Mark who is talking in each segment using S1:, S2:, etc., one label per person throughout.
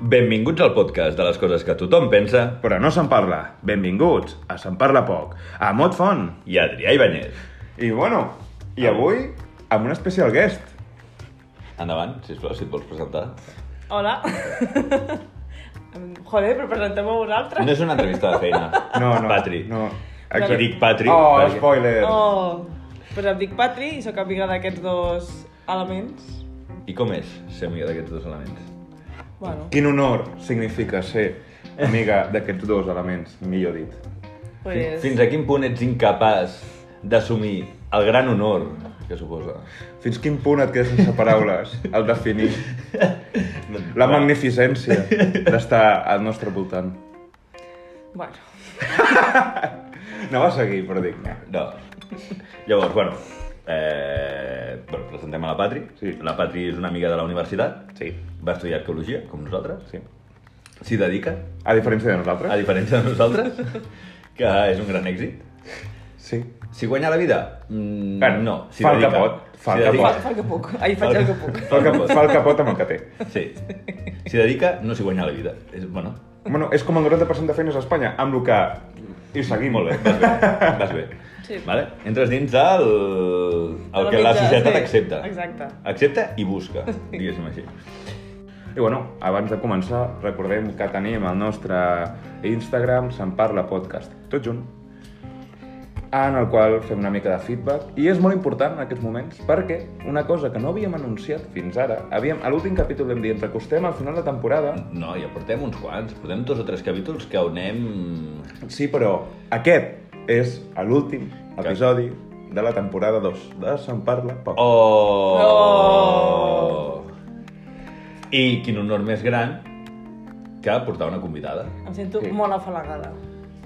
S1: Benvinguts al podcast de les coses que tothom pensa
S2: Però no se'n parla. Benvinguts a Se'n Parla Poc, a Mot Font.
S1: i Adrià Ibáñez.
S2: I bueno, i avui amb un especial guest.
S1: Endavant, sisplau, si et vols presentar.
S3: Hola. Em- Joder, però presenteu-me vosaltres.
S1: No és una entrevista de feina.
S2: No, no.
S1: Patri.
S2: No.
S1: Aquí dic Patri.
S2: Oh,
S1: perquè-
S2: spoiler.
S3: Oh, pues em dic Patri i sóc amiga d'aquests dos elements.
S1: I com és ser amiga d'aquests dos elements?
S3: Bueno,
S2: Quin honor significa ser amiga d'aquests dos elements, millor dit.
S3: pues...
S1: Fins a quin punt ets incapaç d'assumir el gran honor que suposa?
S2: Fins quin punt et quedes sense paraules al definir la magnificència d'estar al nostre voltant.
S3: Bueno,
S2: No va seguir, però dic... "Nah".
S1: No. Llavors, bueno, eh, bueno, presentem a la Patri.
S2: Sí.
S1: La Patri és una amiga de la universitat.
S2: Sí.
S1: Va estudiar arqueologia, com nosaltres.
S2: Sí.
S1: S'hi dedica,
S2: A diferència de
S1: a
S2: nosaltres?
S1: diferència de nosaltres, que és un gran èxit.
S2: Sí.
S1: Si guanya la vida? Mm,
S2: Bueno,
S1: no. S'hi
S2: fa el que
S1: dedica.
S2: pot, fa
S1: S'hi
S2: el que
S1: dedica.
S3: fa, fa el que puc. Ahir faig el que puc.
S2: Fa el que, fa el que pot amb el que té.
S1: Sí. S'hi dedica, no s'hi guanya la vida. És, bueno,
S2: Bueno, és com el 90% de feines a Espanya, amb el que... I seguim.
S1: molt bé, vas bé. Vas bé.
S3: Sí.
S1: Vale? Entres dins del... El
S3: De
S1: que la
S3: mitja,
S1: societat
S3: sí,
S1: accepta.
S3: Exacte.
S1: Accepta i busca, diguéssim així.
S2: I bueno, abans de començar, recordem que tenim el nostre Instagram, se'n parla podcast, tot junt, en el qual fem una mica de feedback. I és molt important en aquests moments perquè una cosa que no havíem anunciat fins ara, havíem, a l'últim capítol vam dir, ens acostem al final de temporada,
S1: No, ja portem uns quants. Portem dos o tres capítols que on anem...
S2: sí, però aquest és l'últim episodi de la temporada 2 de Se'n Parla Poc.
S1: Oh! I quin honor més gran que portar una convidada.
S3: Em sento
S2: Sí.
S3: molt afalagada.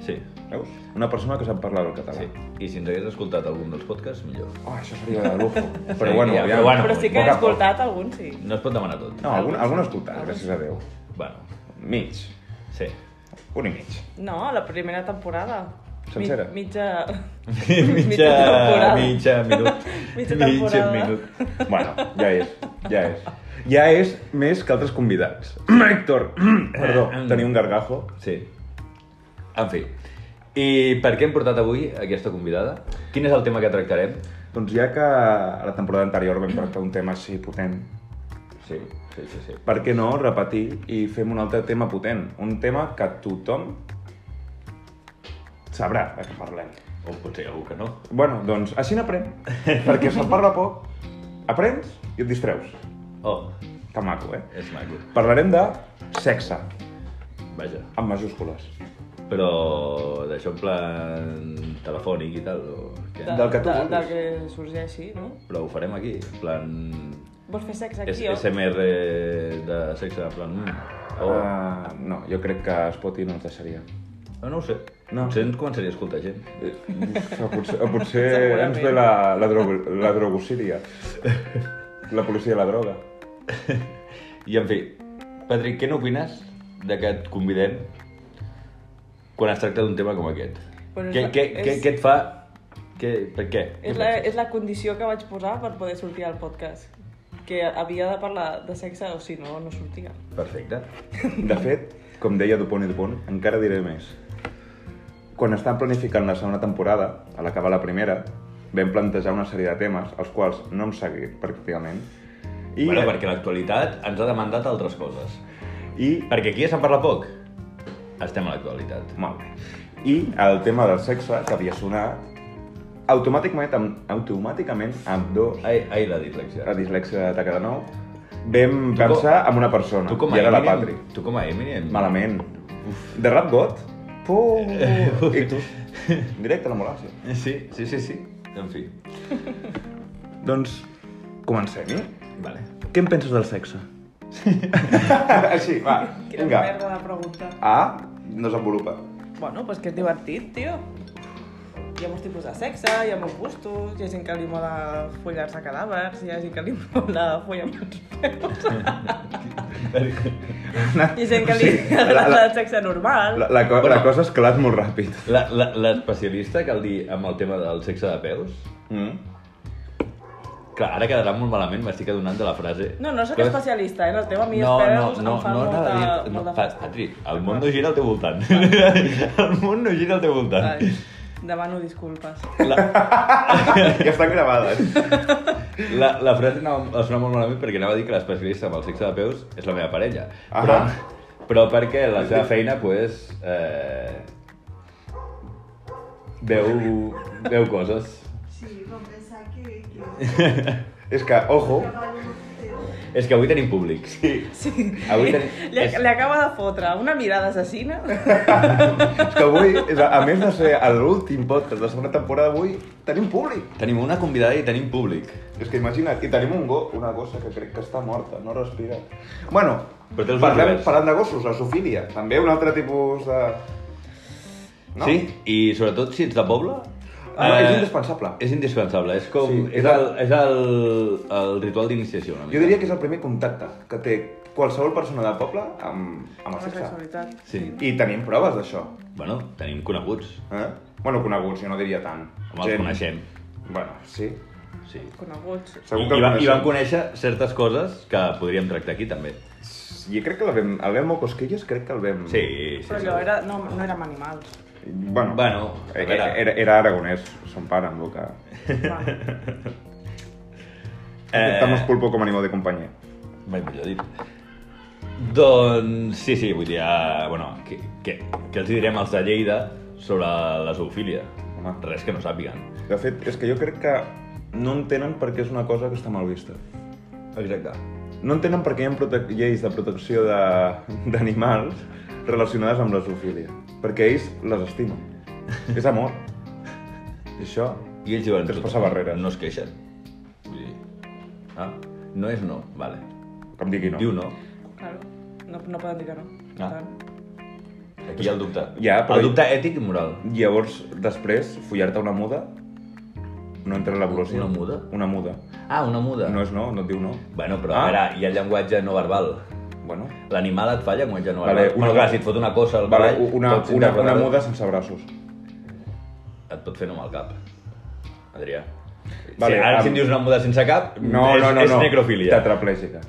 S1: Sí,
S2: Veus? Una persona que sap parlar del català.
S1: sí. I si ens hagués escoltat algun dels podcasts, millor.
S2: Oh, això seria de lujo. Però
S1: Sí,
S2: bueno,
S1: ja,
S2: ja...
S1: però bueno.
S3: Però sí que
S2: poc
S3: he
S2: a poc.
S3: escoltat algun, sí.
S1: No es pot demanar tot.
S2: No, algun, algun escoltat, gràcies a Déu.
S1: Bueno,
S2: Mig.
S1: sí.
S2: Un i mig.
S3: No, la primera temporada.
S2: Sencera?
S3: Mi, mitja...
S1: mitja,
S3: temporada.
S1: mitja minut.
S3: Mitja temporada.
S2: Bueno, ja és, ja és. Ja és més que altres convidats. Héctor, perdó,
S1: Eh,
S2: tenia un gargajo.
S1: Sí. En fi. I per què hem portat avui aquesta convidada? Quin és el tema que tractarem?
S2: Doncs ja que a la temporada anterior vam tractar un tema així potent,
S1: Sí, sí, sí. sí.
S2: per què no repetir i fem un altre tema potent? Un tema que tothom sabrà de què parlem.
S1: O potser algú que no.
S2: Bueno, doncs així n'aprèn, perquè se'n parla poc, aprens i et distreus.
S1: Oh,
S2: Que maco, eh?
S1: és maco.
S2: Parlarem de sexe,
S1: Vaja.
S2: amb majúscules.
S1: Però d'això en plan telefònic i tal, o què?
S3: De-
S2: Del que tu
S3: de-
S2: vulguis.
S3: Del que sorgeixi, no?
S1: Però ho farem aquí, en plan...
S3: Vols fer sexe
S1: S
S3: aquí, o?
S1: SMR de sexe, en plan... Mm. O...
S2: Uh, no, jo crec que Spotify no ens deixaria.
S1: No, no ho sé. No.
S2: Ah. No.
S1: Potser ens començaria a escoltar gent.
S2: Eh, O potser, o potser
S3: Segurament.
S2: ens ve la, la, drogo, la drogocília. La policia de la droga.
S1: I en fi, Patrick, què n'opines de que et convidem quan es tracta d'un tema com aquest?
S3: Bueno, és
S1: què,
S3: la-
S1: què,
S3: és-
S1: què, què et fa... Què, per què?
S3: És la, és la condició que vaig posar per poder sortir al podcast. Que havia de parlar de sexe o si no, no sortia.
S1: Perfecte.
S2: De fet, com deia Dupont i Dupont, encara diré més. Quan estan planificant la segona temporada, a l'acabar la primera, vam plantejar una sèrie de temes, els quals no hem seguit, pràcticament.
S1: I...
S2: I,
S1: Bueno, perquè l'actualitat ens ha demandat altres coses.
S2: i
S1: Perquè aquí ja se'n parla poc. Estem a l'actualitat.
S2: Molt bé. I el tema del sexe, que havia sonat, automàticament, amb, automàticament amb dos,
S1: Ai, ai la dislexia.
S2: la dislexia de cada nou, vam
S1: com-
S2: pensar en una persona, i era la Patri.
S1: Tu com a Eminem...
S2: Malament. De Rap God? Puh, I tu? Directe a l'ambulància.
S1: Sí, sí, sí, sí. En fi.
S2: Doncs, comencem-hi.
S1: Vale.
S2: Què en penses del sexe? Així, va,
S3: Quina
S2: vinga.
S3: merda de pregunta.
S2: A, desenvolupa.
S3: Bueno, pues que és divertit, tio. Hi ha molts tipus de sexe, hi ha molts gustos, hi ha gent que li mola follar-se cadàvers, hi ha gent que li mola follar amb els peus, hi ha gent que li
S2: Sí, la- la-
S3: agrada el sexe normal.
S2: La, la, co
S1: Bueno.
S2: la cosa ha escalat molt ràpid.
S1: La- la- L'especialista, cal dir, amb el tema del sexe de peus,
S2: Mm?
S1: Clar, ara quedarà molt malament, m'estic adonant de la frase.
S3: No, no sóc
S1: Coses-
S3: especialista eh, en el tema. A mi
S1: No, no,
S3: espereus
S1: no,
S3: em fa
S1: no,
S3: molta,
S1: anava a dir... No,
S3: molta
S1: Pat-
S3: festa.
S1: Patri, el món no gira al teu voltant. el món no gira al teu voltant.
S3: Vale. Demano disculpes.
S1: La,
S2: que estan gravades.
S1: la, la frase anava a sonar molt malament perquè anava a dir que l'especialista amb el sexe de peus és la meva parella. Però,
S2: Ahà.
S1: però perquè la seva feina, pues, eh, veu, veu coses.
S4: Sí, com pensar que... que...
S2: És que, ojo,
S4: treballo teu.
S1: És que avui tenim públic. Sí.
S3: Sí.
S1: Avui tenim...
S3: Li,
S1: és-
S3: li acaba de fotre una mirada assassina.
S2: és que avui, és a, a més de ser l'últim podcast de la segona temporada, avui tenim públic.
S1: Tenim una convidada i tenim públic.
S2: És que imagina't, i tenim un go, una gossa que crec que està morta, no respira. Bueno,
S1: Però té els ulls
S2: parlem,
S1: oberts.
S2: parlant de gossos, la sofília, també un altre tipus de... No?
S1: Sí, i sobretot si ets de poble...
S2: Ah, no, és
S1: eh,
S2: indispensable.
S1: És indispensable, és com...
S2: Sí,
S1: Sí, és,
S2: és
S1: el, és el, el ritual d'iniciació, una mica.
S2: Jo diria que és el primer contacte que té qualsevol persona del poble amb, amb el
S3: Una
S2: sexe.
S3: sexualitat.
S1: Sí.
S2: I tenim proves d'això.
S1: Bueno, tenim coneguts.
S2: Eh? Bueno, coneguts, jo no diria tant.
S1: Home, els coneixem.
S2: Bueno, sí.
S1: Sí.
S3: Coneguts.
S1: I,
S2: Segur que
S1: i, va, I
S2: coneixem.
S1: vam conèixer certes coses que podríem tractar aquí, també.
S2: Mm. Jo crec que el vam, el vam Mocosquillos, crec que el vam...
S1: Sí, sí.
S3: Però
S1: sí.
S3: allò era, no, no érem animals.
S2: Bueno,
S1: Bueno, a
S2: eh,
S1: veure.
S2: era, era aragonès, son pare, amb el que...
S3: Va.
S1: Eh.
S2: Aceptamos pulpo com animal de companyia.
S1: Mai millor dit. Doncs sí, sí, vull dir, ah, bueno, què, què, què els hi direm als de Lleida sobre la zoofília?
S2: Home.
S1: Res que no sàpiguen.
S2: De fet, és que jo crec que no entenen perquè és una cosa que està mal vista.
S1: Exacte.
S2: No entenen perquè hi ha prote- lleis de protecció de- d'animals relacionades amb la zoofília. Perquè ells les estimen. És amor. I això...
S1: I ells diuen...
S2: Traspassa barreres.
S1: No es queixen. Vull dir... Ah, no és no, vale.
S2: Com digui,
S1: No.
S2: no.
S1: Diu no.
S3: Claro. No, no poden dir que no. Per
S1: Ah.
S3: tant,
S1: Aquí hi ha el dubte.
S2: Ja, però-
S1: El dubte ètic i moral.
S2: Llavors, després, follar-te una muda no entra en l'evolució.
S1: Una muda?
S2: Una muda.
S1: Ah, una muda.
S2: No és no, no et diu no.
S1: Bueno, però
S2: Ah.
S1: a veure, hi ha llenguatge no verbal.
S2: Bueno,
S1: L'animal et fa llenguatge no
S2: Vale,
S1: verbal. Vale,
S2: una-
S1: una... Bueno, clar, si et fot una cosa al
S2: vale,
S1: cavall,
S2: una,
S1: pots
S2: una, una
S1: interpretar-
S2: muda sense braços.
S1: Et pot fer nom al cap. Adrià.
S2: Vale,
S1: Vale, si, ara
S2: amb-
S1: si em dius una muda sense cap,
S2: No,
S1: és,
S2: no, no,
S1: és
S2: no.
S1: necrofília.
S2: Tetraplègica.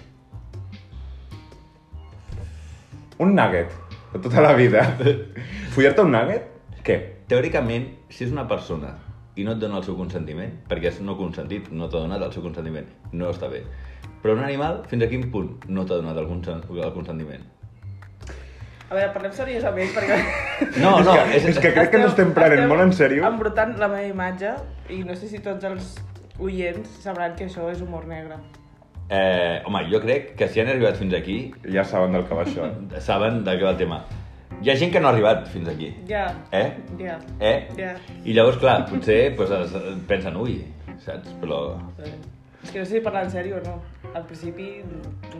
S2: Un nugget, de tota la vida. Follar-te un nugget? Què?
S1: Teòricament, si és una persona i no et dona el seu consentiment, perquè és no consentit, no t'ha donat el seu consentiment, no està bé. Però un animal, fins a quin punt no t'ha donat el, consen el consentiment?
S3: a veure, parlem seriosament perquè...
S1: No, no,
S2: és, que, és que crec que no estem prenent molt en sèrio.
S3: embrutant la meva imatge i no sé si tots els oients sabran que això és humor negre.
S1: Eh, home, jo crec que si han arribat fins aquí,
S2: Ja saben del que va això. eh?
S1: saben de què va el tema. Hi ha gent que no ha arribat fins aquí.
S3: Ja,
S1: Eh?
S3: ja.
S1: Eh?
S3: Ja.
S1: I llavors, clar, potser pues, es, pensen, ui, saps? Però
S3: Eh, És que no sé si parlar en sèrio o no. Al principi...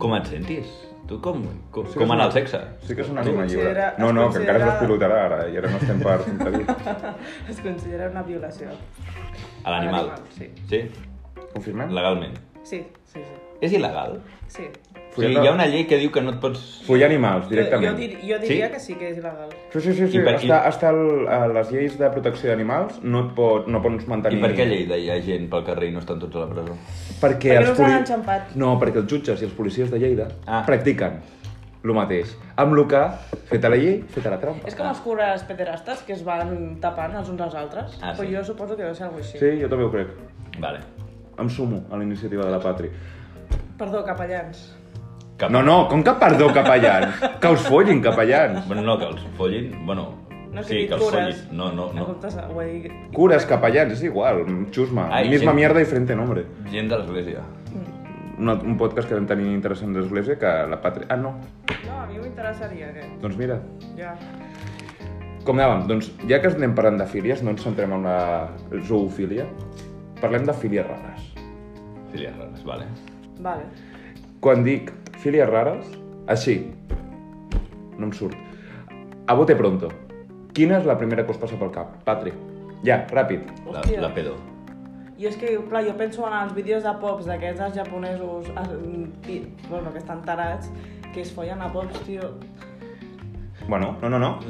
S1: com et sentis? Tu com, com,
S2: Sí que
S1: com
S2: és
S1: en el
S2: una-
S1: sexe?
S2: Sí que és una
S3: Es
S2: ànima lliure.
S3: considera-
S2: No,
S3: es
S2: no, que encara es
S3: considera-
S2: despilotarà ara, i ara no estem per impedir.
S3: Es considera una violació.
S1: A l'animal.
S3: A l'animal, sí.
S1: sí.
S2: Confirmem?
S1: Legalment.
S3: Sí, sí, sí.
S1: És il·legal?
S3: sí.
S1: O sigui, hi ha una llei que diu que no et pots...
S2: Follar animals,
S3: Jo, jo,
S2: directament.
S3: dir, jo diria
S1: Sí?
S3: que sí que és il·legal.
S2: Sí, sí, sí, sí.
S1: I per-
S2: està,
S1: i-
S2: està el, a les lleis de protecció d'animals, no, et pot, no pots mantenir...
S1: I per què a Lleida hi ha gent pel carrer i no estan tots a la presó?
S2: Perquè,
S3: Perquè
S2: els
S3: no s'han enxampat.
S2: No, perquè els jutges i els policies de Lleida ah.
S1: Ah.
S2: practiquen el mateix. Amb el que, feta la llei, feta la trampa.
S1: Ah.
S3: És com els cures pederastes que es van tapant els uns als altres.
S1: Ah, sí.
S3: Però jo suposo que deu ser alguna cosa així.
S2: Sí, jo també ho crec.
S1: Vale.
S2: Em sumo a la iniciativa de la Patri.
S3: Perdó, capellans.
S1: Cap...
S2: No, no, com que perdó, capellans? que us follin, capellans.
S1: Bueno, no, que els follin... Bueno,
S3: No sé
S1: sí,
S3: dir
S1: que els
S3: cures.
S1: follin. No, no,
S3: En
S1: no.
S3: comptes de... Ho he dit...
S2: Cures, capellans, és igual. Xusma,
S1: Ai,
S2: misma
S1: gent-
S2: mierda, diferente nombre.
S1: Gent de l'església.
S2: Un, alt- un podcast que vam tenir interessant d'església que la Patri... Ah, no.
S3: No, a mi m'interessaria aquest.
S2: Doncs mira,
S3: Ja.
S2: Com anàvem? Doncs ja que anem parlant de fílies, no ens centrem en la zoofília, parlem de fílies rares.
S1: Filies rares, vale.
S3: Vale.
S2: Quan dic fílies rares, així, no em surt. A bote pronto, quina és la primera que us passa pel cap? Patri, ja, ràpid.
S1: La,
S3: Hòstia.
S1: la pedo.
S3: I és que, clar, jo penso en els vídeos de pops d'aquests dels japonesos, eh, pi- bueno, que estan tarats, que es follen a pops, tio.
S2: Bueno, no, no, no.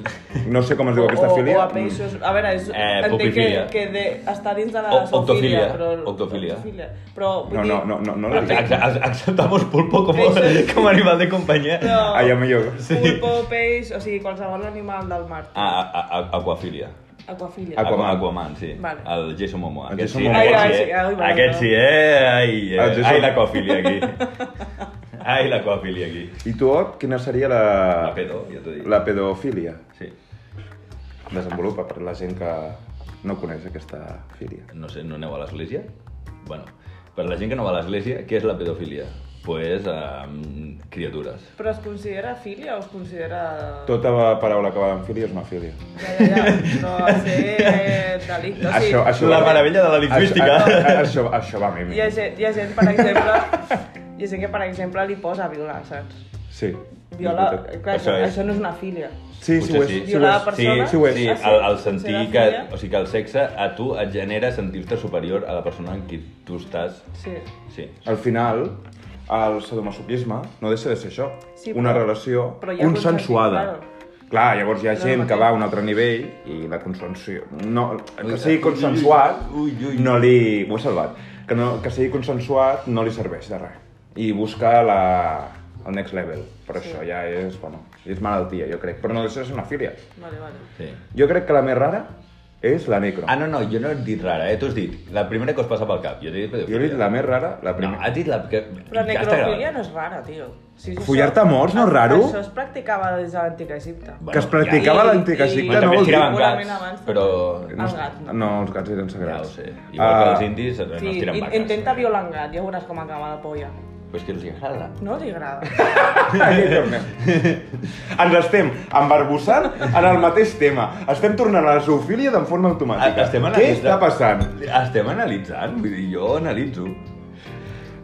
S2: No sé com es diu aquesta Mm.
S3: o,
S2: filia.
S3: O a peixos... A veure, és,
S1: Eh,
S3: entenc que,
S1: pupifilia.
S3: que de, està dins de la
S1: O-
S3: zoofilia,
S1: octofilia.
S3: però...
S1: Octofilia.
S3: Però, vull
S2: Mm. No,
S3: dir,
S2: no, no, no, no la
S1: Ac-
S2: dic.
S1: ac- Acceptamos pulpo com,
S3: Peixos.
S1: com animal de companyia.
S3: Però
S2: Ah, ja millor.
S1: Sí.
S3: pulpo, peix, o sigui, qualsevol animal del mar.
S1: Ah, a, a, a, aquafilia.
S3: Aquafilia.
S2: Aqu- Aquaman.
S1: Aquaman. Aquaman, sí.
S3: Vale.
S1: El Jason Momoa.
S2: El
S1: Aquest
S2: Jason
S1: sí,
S2: Momoa.
S1: aquest sí,
S3: Ai, ai,
S1: eh?
S3: sí, ai, vale,
S1: Aquest
S3: vale.
S1: sí, eh? Ai, eh?
S2: El Jason-
S1: ai l'aquafilia aquí. ai, l'aquafilia aquí.
S2: I tu, Ot, quina seria la...
S1: La pedo, ja t'ho dic.
S2: Ah. La pedofilia.
S1: Sí.
S2: Desenvolupa per la gent que no coneix aquesta filia.
S1: No sé, no aneu a l'església? Bueno, per la gent que no va a l'església, què és la pedofilia? Pues, um, criatures.
S3: Però es considera filia o es considera...
S2: Tota la paraula que va amb filia és una filia.
S3: Ja, ja, ja. No, va ser eh, delicte. O sigui,
S1: La meravella de la lingüística.
S2: Això, a- a- això, això va a mi.
S3: hi, ha gent, hi ha gent, per exemple... Hi ha gent que, per exemple, li posa a violar, saps?
S2: Sí.
S3: Viola... Clar,
S1: Això
S3: això,
S1: és.
S3: això no és una filia.
S2: Sí, sí,
S1: Potser
S2: ho és.
S1: sí.
S2: Sí, ho
S3: Violar
S2: és.
S1: Sí,
S3: persona?
S1: sí,
S2: ho és.
S1: sí,
S3: Ah, sí?
S1: el, el sentir
S3: Serà
S1: que,
S3: filia?
S1: o sigui, que el sexe a tu et genera sentir-te superior a la persona amb qui tu estàs.
S3: Sí.
S1: Sí.
S2: Al final, el sadomasoquisme no deixa de ser això.
S3: Sí, però-
S2: una relació
S3: però hi ha
S2: consensuada.
S3: consens,
S2: Clar, llavors hi ha
S3: No,
S2: gent que
S3: mateix.
S2: va a un altre nivell i la consensuació... No,
S1: Ui,
S2: que sigui
S1: ui,
S2: consensuat,
S1: ui, ui.
S2: no li... Ho he salvat. Que, no, que sigui consensuat no li serveix de res. I busca la, el next level. Però
S3: Sí.
S2: això ja és, bueno, és malaltia, jo crec. Però no deixa de ser una fília.
S3: Vale, vale.
S1: Sí.
S2: Jo crec que la més rara és la necro.
S1: Ah, no, no, jo no he dit rara, eh? Tu has dit la primera que us passa pel cap. Jo t'he dit pedofilia.
S2: Jo he dit la més rara, la
S1: No,
S2: primera.
S1: has dit la... Que...
S3: Però
S1: està
S3: necrofilia
S1: gravat.
S3: no és rara, tio. Si això-
S2: Follar-te a morts no és raro?
S3: Això es practicava des de l'antic Egipte.
S1: Bueno,
S2: que es practicava
S3: ja.
S2: a l'antic
S3: I-
S2: Egipte,
S1: Bueno,
S2: no
S1: també
S2: vol
S1: es
S2: dir...
S1: tiraven
S3: Segurament abans
S1: gats,
S3: també.
S1: però...
S3: No. Els gats, no.
S2: no, els gats
S1: Ja
S2: eren
S1: ho
S2: sagrats.
S1: sé. Igual que
S2: Ah,
S1: els indis eh, no
S3: Sí,
S1: es tiren
S3: in-
S1: vaques.
S3: intenta violar un gat, ja veuràs com acaba la polla.
S1: Però és que els hi agrada.
S3: No li agrada.
S2: Aquí tornem. Ens estem embarbussant en el mateix tema. Estem tornant a la zoofília d'en forma automàtica.
S1: Ah, Estem
S2: Què
S1: analitzant.
S2: està passant?
S1: Estem analitzant, vull dir, jo analitzo.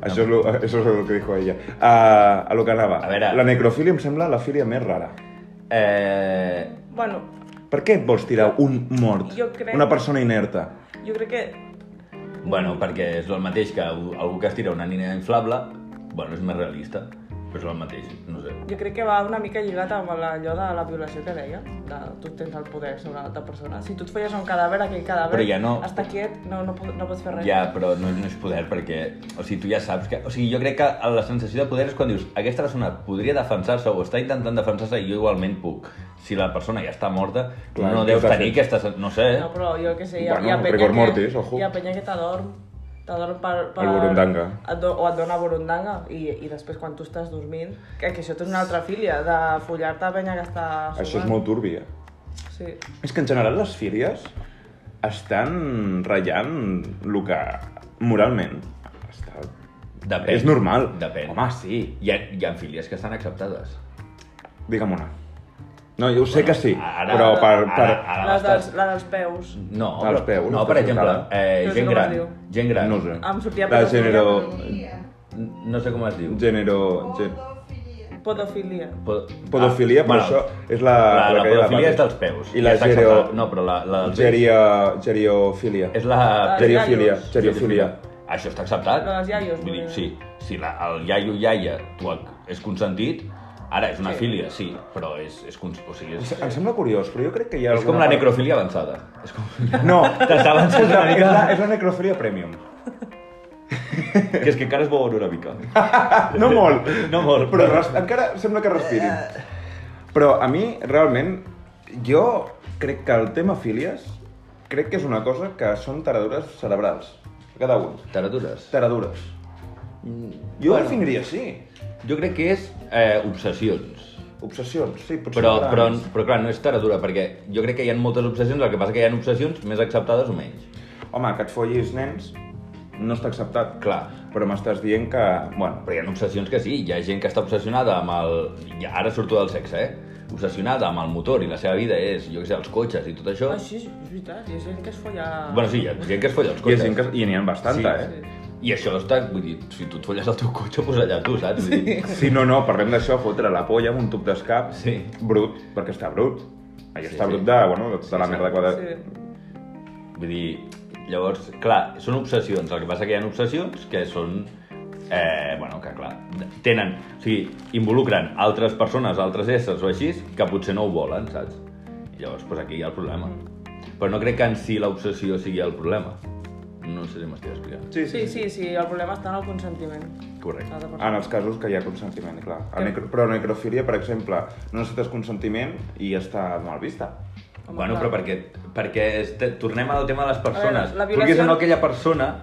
S2: Això és, lo, això és el que dijo ella. Uh, a lo que anava.
S1: A veure.
S2: La necrofília em sembla la fília més rara.
S1: Eh...
S3: bueno,
S2: Per què et vols tirar un mort?
S3: Jo crec-
S2: Una persona inerta.
S3: jo crec que...
S1: Bueno, perquè és el mateix que algú algú que es tira una nina inflable, bueno, és més realista, però és el mateix, no sé.
S3: Jo crec que va una mica lligat amb la- allò de la violació que deia, de tu tens el poder sobre l'altra persona. Si tu et folles a un cadàver, aquell cadàver
S1: Però ja no.
S3: està quiet, no, no, po- no pots fer res.
S1: Ja, però no, no és poder perquè... O sigui, tu ja saps que... O sigui, jo crec que la sensació de poder és quan dius aquesta persona podria defensar-se o està intentant defensar-se i jo igualment puc. Si la persona ja està morta,
S2: Clar,
S1: Clar, no
S2: què
S1: deus
S2: estàs
S1: tenir
S2: fent?
S1: aquesta... sen- No sé,
S3: No, però jo què sé, hi
S2: Eh?
S3: ha,
S2: Bueno,
S3: hi ha penya
S2: rigor
S3: que...
S2: mortis, ojo.
S3: Hi ha penya que t'adorm. T'adorm per, per...
S2: El burundanga.
S3: Et do, o et dona burundanga i, i després quan tu estàs dormint... Que, que això té una altra filia, de follar-te a penya que està... sopant.
S2: Això és molt turbi, eh?
S3: Sí.
S2: És que en general les fílies estan ratllant el que moralment està...
S1: Depèn.
S2: És normal.
S1: Depèn.
S2: Home, sí.
S1: Hi ha, hi ha filies que estan acceptades.
S2: Digue'm una. No, jo ho sé
S1: Bueno,
S2: que sí,
S1: ara-
S2: però per... per...
S1: ara- ara-
S3: La dels,
S1: l'estàs-
S3: la dels peus.
S1: No,
S2: Ah, els peus,
S1: no
S2: està
S1: per exemple,
S2: acceptada.
S1: eh,
S3: No sé
S1: gent
S3: com es
S1: gran,
S3: diu.
S1: gent gran,
S2: No ho sé.
S3: Em sortia
S2: La
S3: pedofilia,
S2: genero...
S1: no sé com es diu.
S2: Genero... gen-
S4: Podofilia.
S3: Podofilia.
S1: Po- ah,
S2: Pedofilia,
S1: bueno,
S2: però això és la...
S1: la, la,
S2: que deia
S1: pedofilia
S2: Pati.
S1: és dels peus.
S2: I la
S1: està
S2: gereo...
S1: acceptada. No, però la, la dels peus
S2: Geria... Geriofilia.
S1: és la...
S3: Els
S2: Geriofilia.
S3: iaios.
S2: Geriofilia.
S1: Això està acceptat.
S3: Però els iaios,
S1: Vull dir,
S3: volia
S1: sí,
S3: dir.
S1: si la, el iaio iaia tu és consentit, ara és una
S3: Sí.
S1: filia, sí, però és, és, cons- o sigui, és,
S2: Em sembla curiós, però jo crec que hi ha...
S1: és com la
S2: alguna part-
S1: necrofilia avançada. És com...
S2: No,
S1: T'avances
S2: és la,
S1: una
S2: és la,
S1: mica.
S2: és la necrofilia premium.
S1: que és que encara es veuen una mica.
S2: No molt,
S1: No molt,
S2: però
S1: però-
S2: res, encara sembla que respirin. Però a mi, realment, jo crec que el tema fílies crec que és una cosa que són taradures cerebrals, cada un.
S1: Taratures.
S2: Taradures. Jo ho
S1: Bueno.
S2: definiria així.
S1: Jo crec que és eh, obsessions.
S2: Obsessions, sí, potser
S1: Però,
S2: grans.
S1: però, però clar, no és taradura, perquè jo crec que hi ha moltes obsessions, el que passa que hi ha obsessions més acceptades o menys.
S2: Home, que et follis nens no està acceptat,
S1: Clar.
S2: però m'estàs dient que... Bueno,
S1: Però hi ha obsessions que sí, hi ha gent que està obsessionada amb el... i Ara surto del sexe, eh? Obsessionada amb el motor i la seva vida és, jo què sé, els cotxes i tot això.
S3: Ah, sí, és veritat, hi ha gent que es folla...
S1: Bueno, sí, hi ha gent que es folla els
S2: hi ha
S1: cotxes.
S2: gent que... I n'hi ha bastanta,
S1: Sí,
S2: eh?
S1: I això està, vull dir, si tu et folles el teu cotxe, doncs allà tu, saps? Vull dir,
S2: Sí, eh? no, no, parlem d'això, fotre la polla amb un tub d'escap
S1: Sí.
S2: brut, perquè està brut. Allò
S1: Sí,
S2: està
S1: sí.
S2: brut de, bueno, de tota la
S1: sí.
S2: merda que va de...
S3: Sí.
S1: vull dir, llavors, clar, són obsessions. El que passa que hi ha obsessions que són eh, bueno, que clar, tenen, o sigui, involucren altres persones, altres éssers o així, que potser no ho volen, saps? I llavors, doncs aquí hi ha el problema. Però no crec que en si l'obsessió sigui el problema. No sé si m'estic explicant.
S2: Sí, Ah,
S3: Sí, sí, sí, el problema està en el consentiment.
S1: Correcte.
S3: L'altra persona.
S2: En els casos que hi ha consentiment, clar.
S3: Sí.
S2: El necro... Però la necrofilia, per exemple, no necessites consentiment i està mal vista.
S3: Home,
S1: bueno,
S3: clar.
S1: però perquè, perquè este, tornem al tema de les persones.
S3: veure, la violació-
S1: Vulguis o no, aquella persona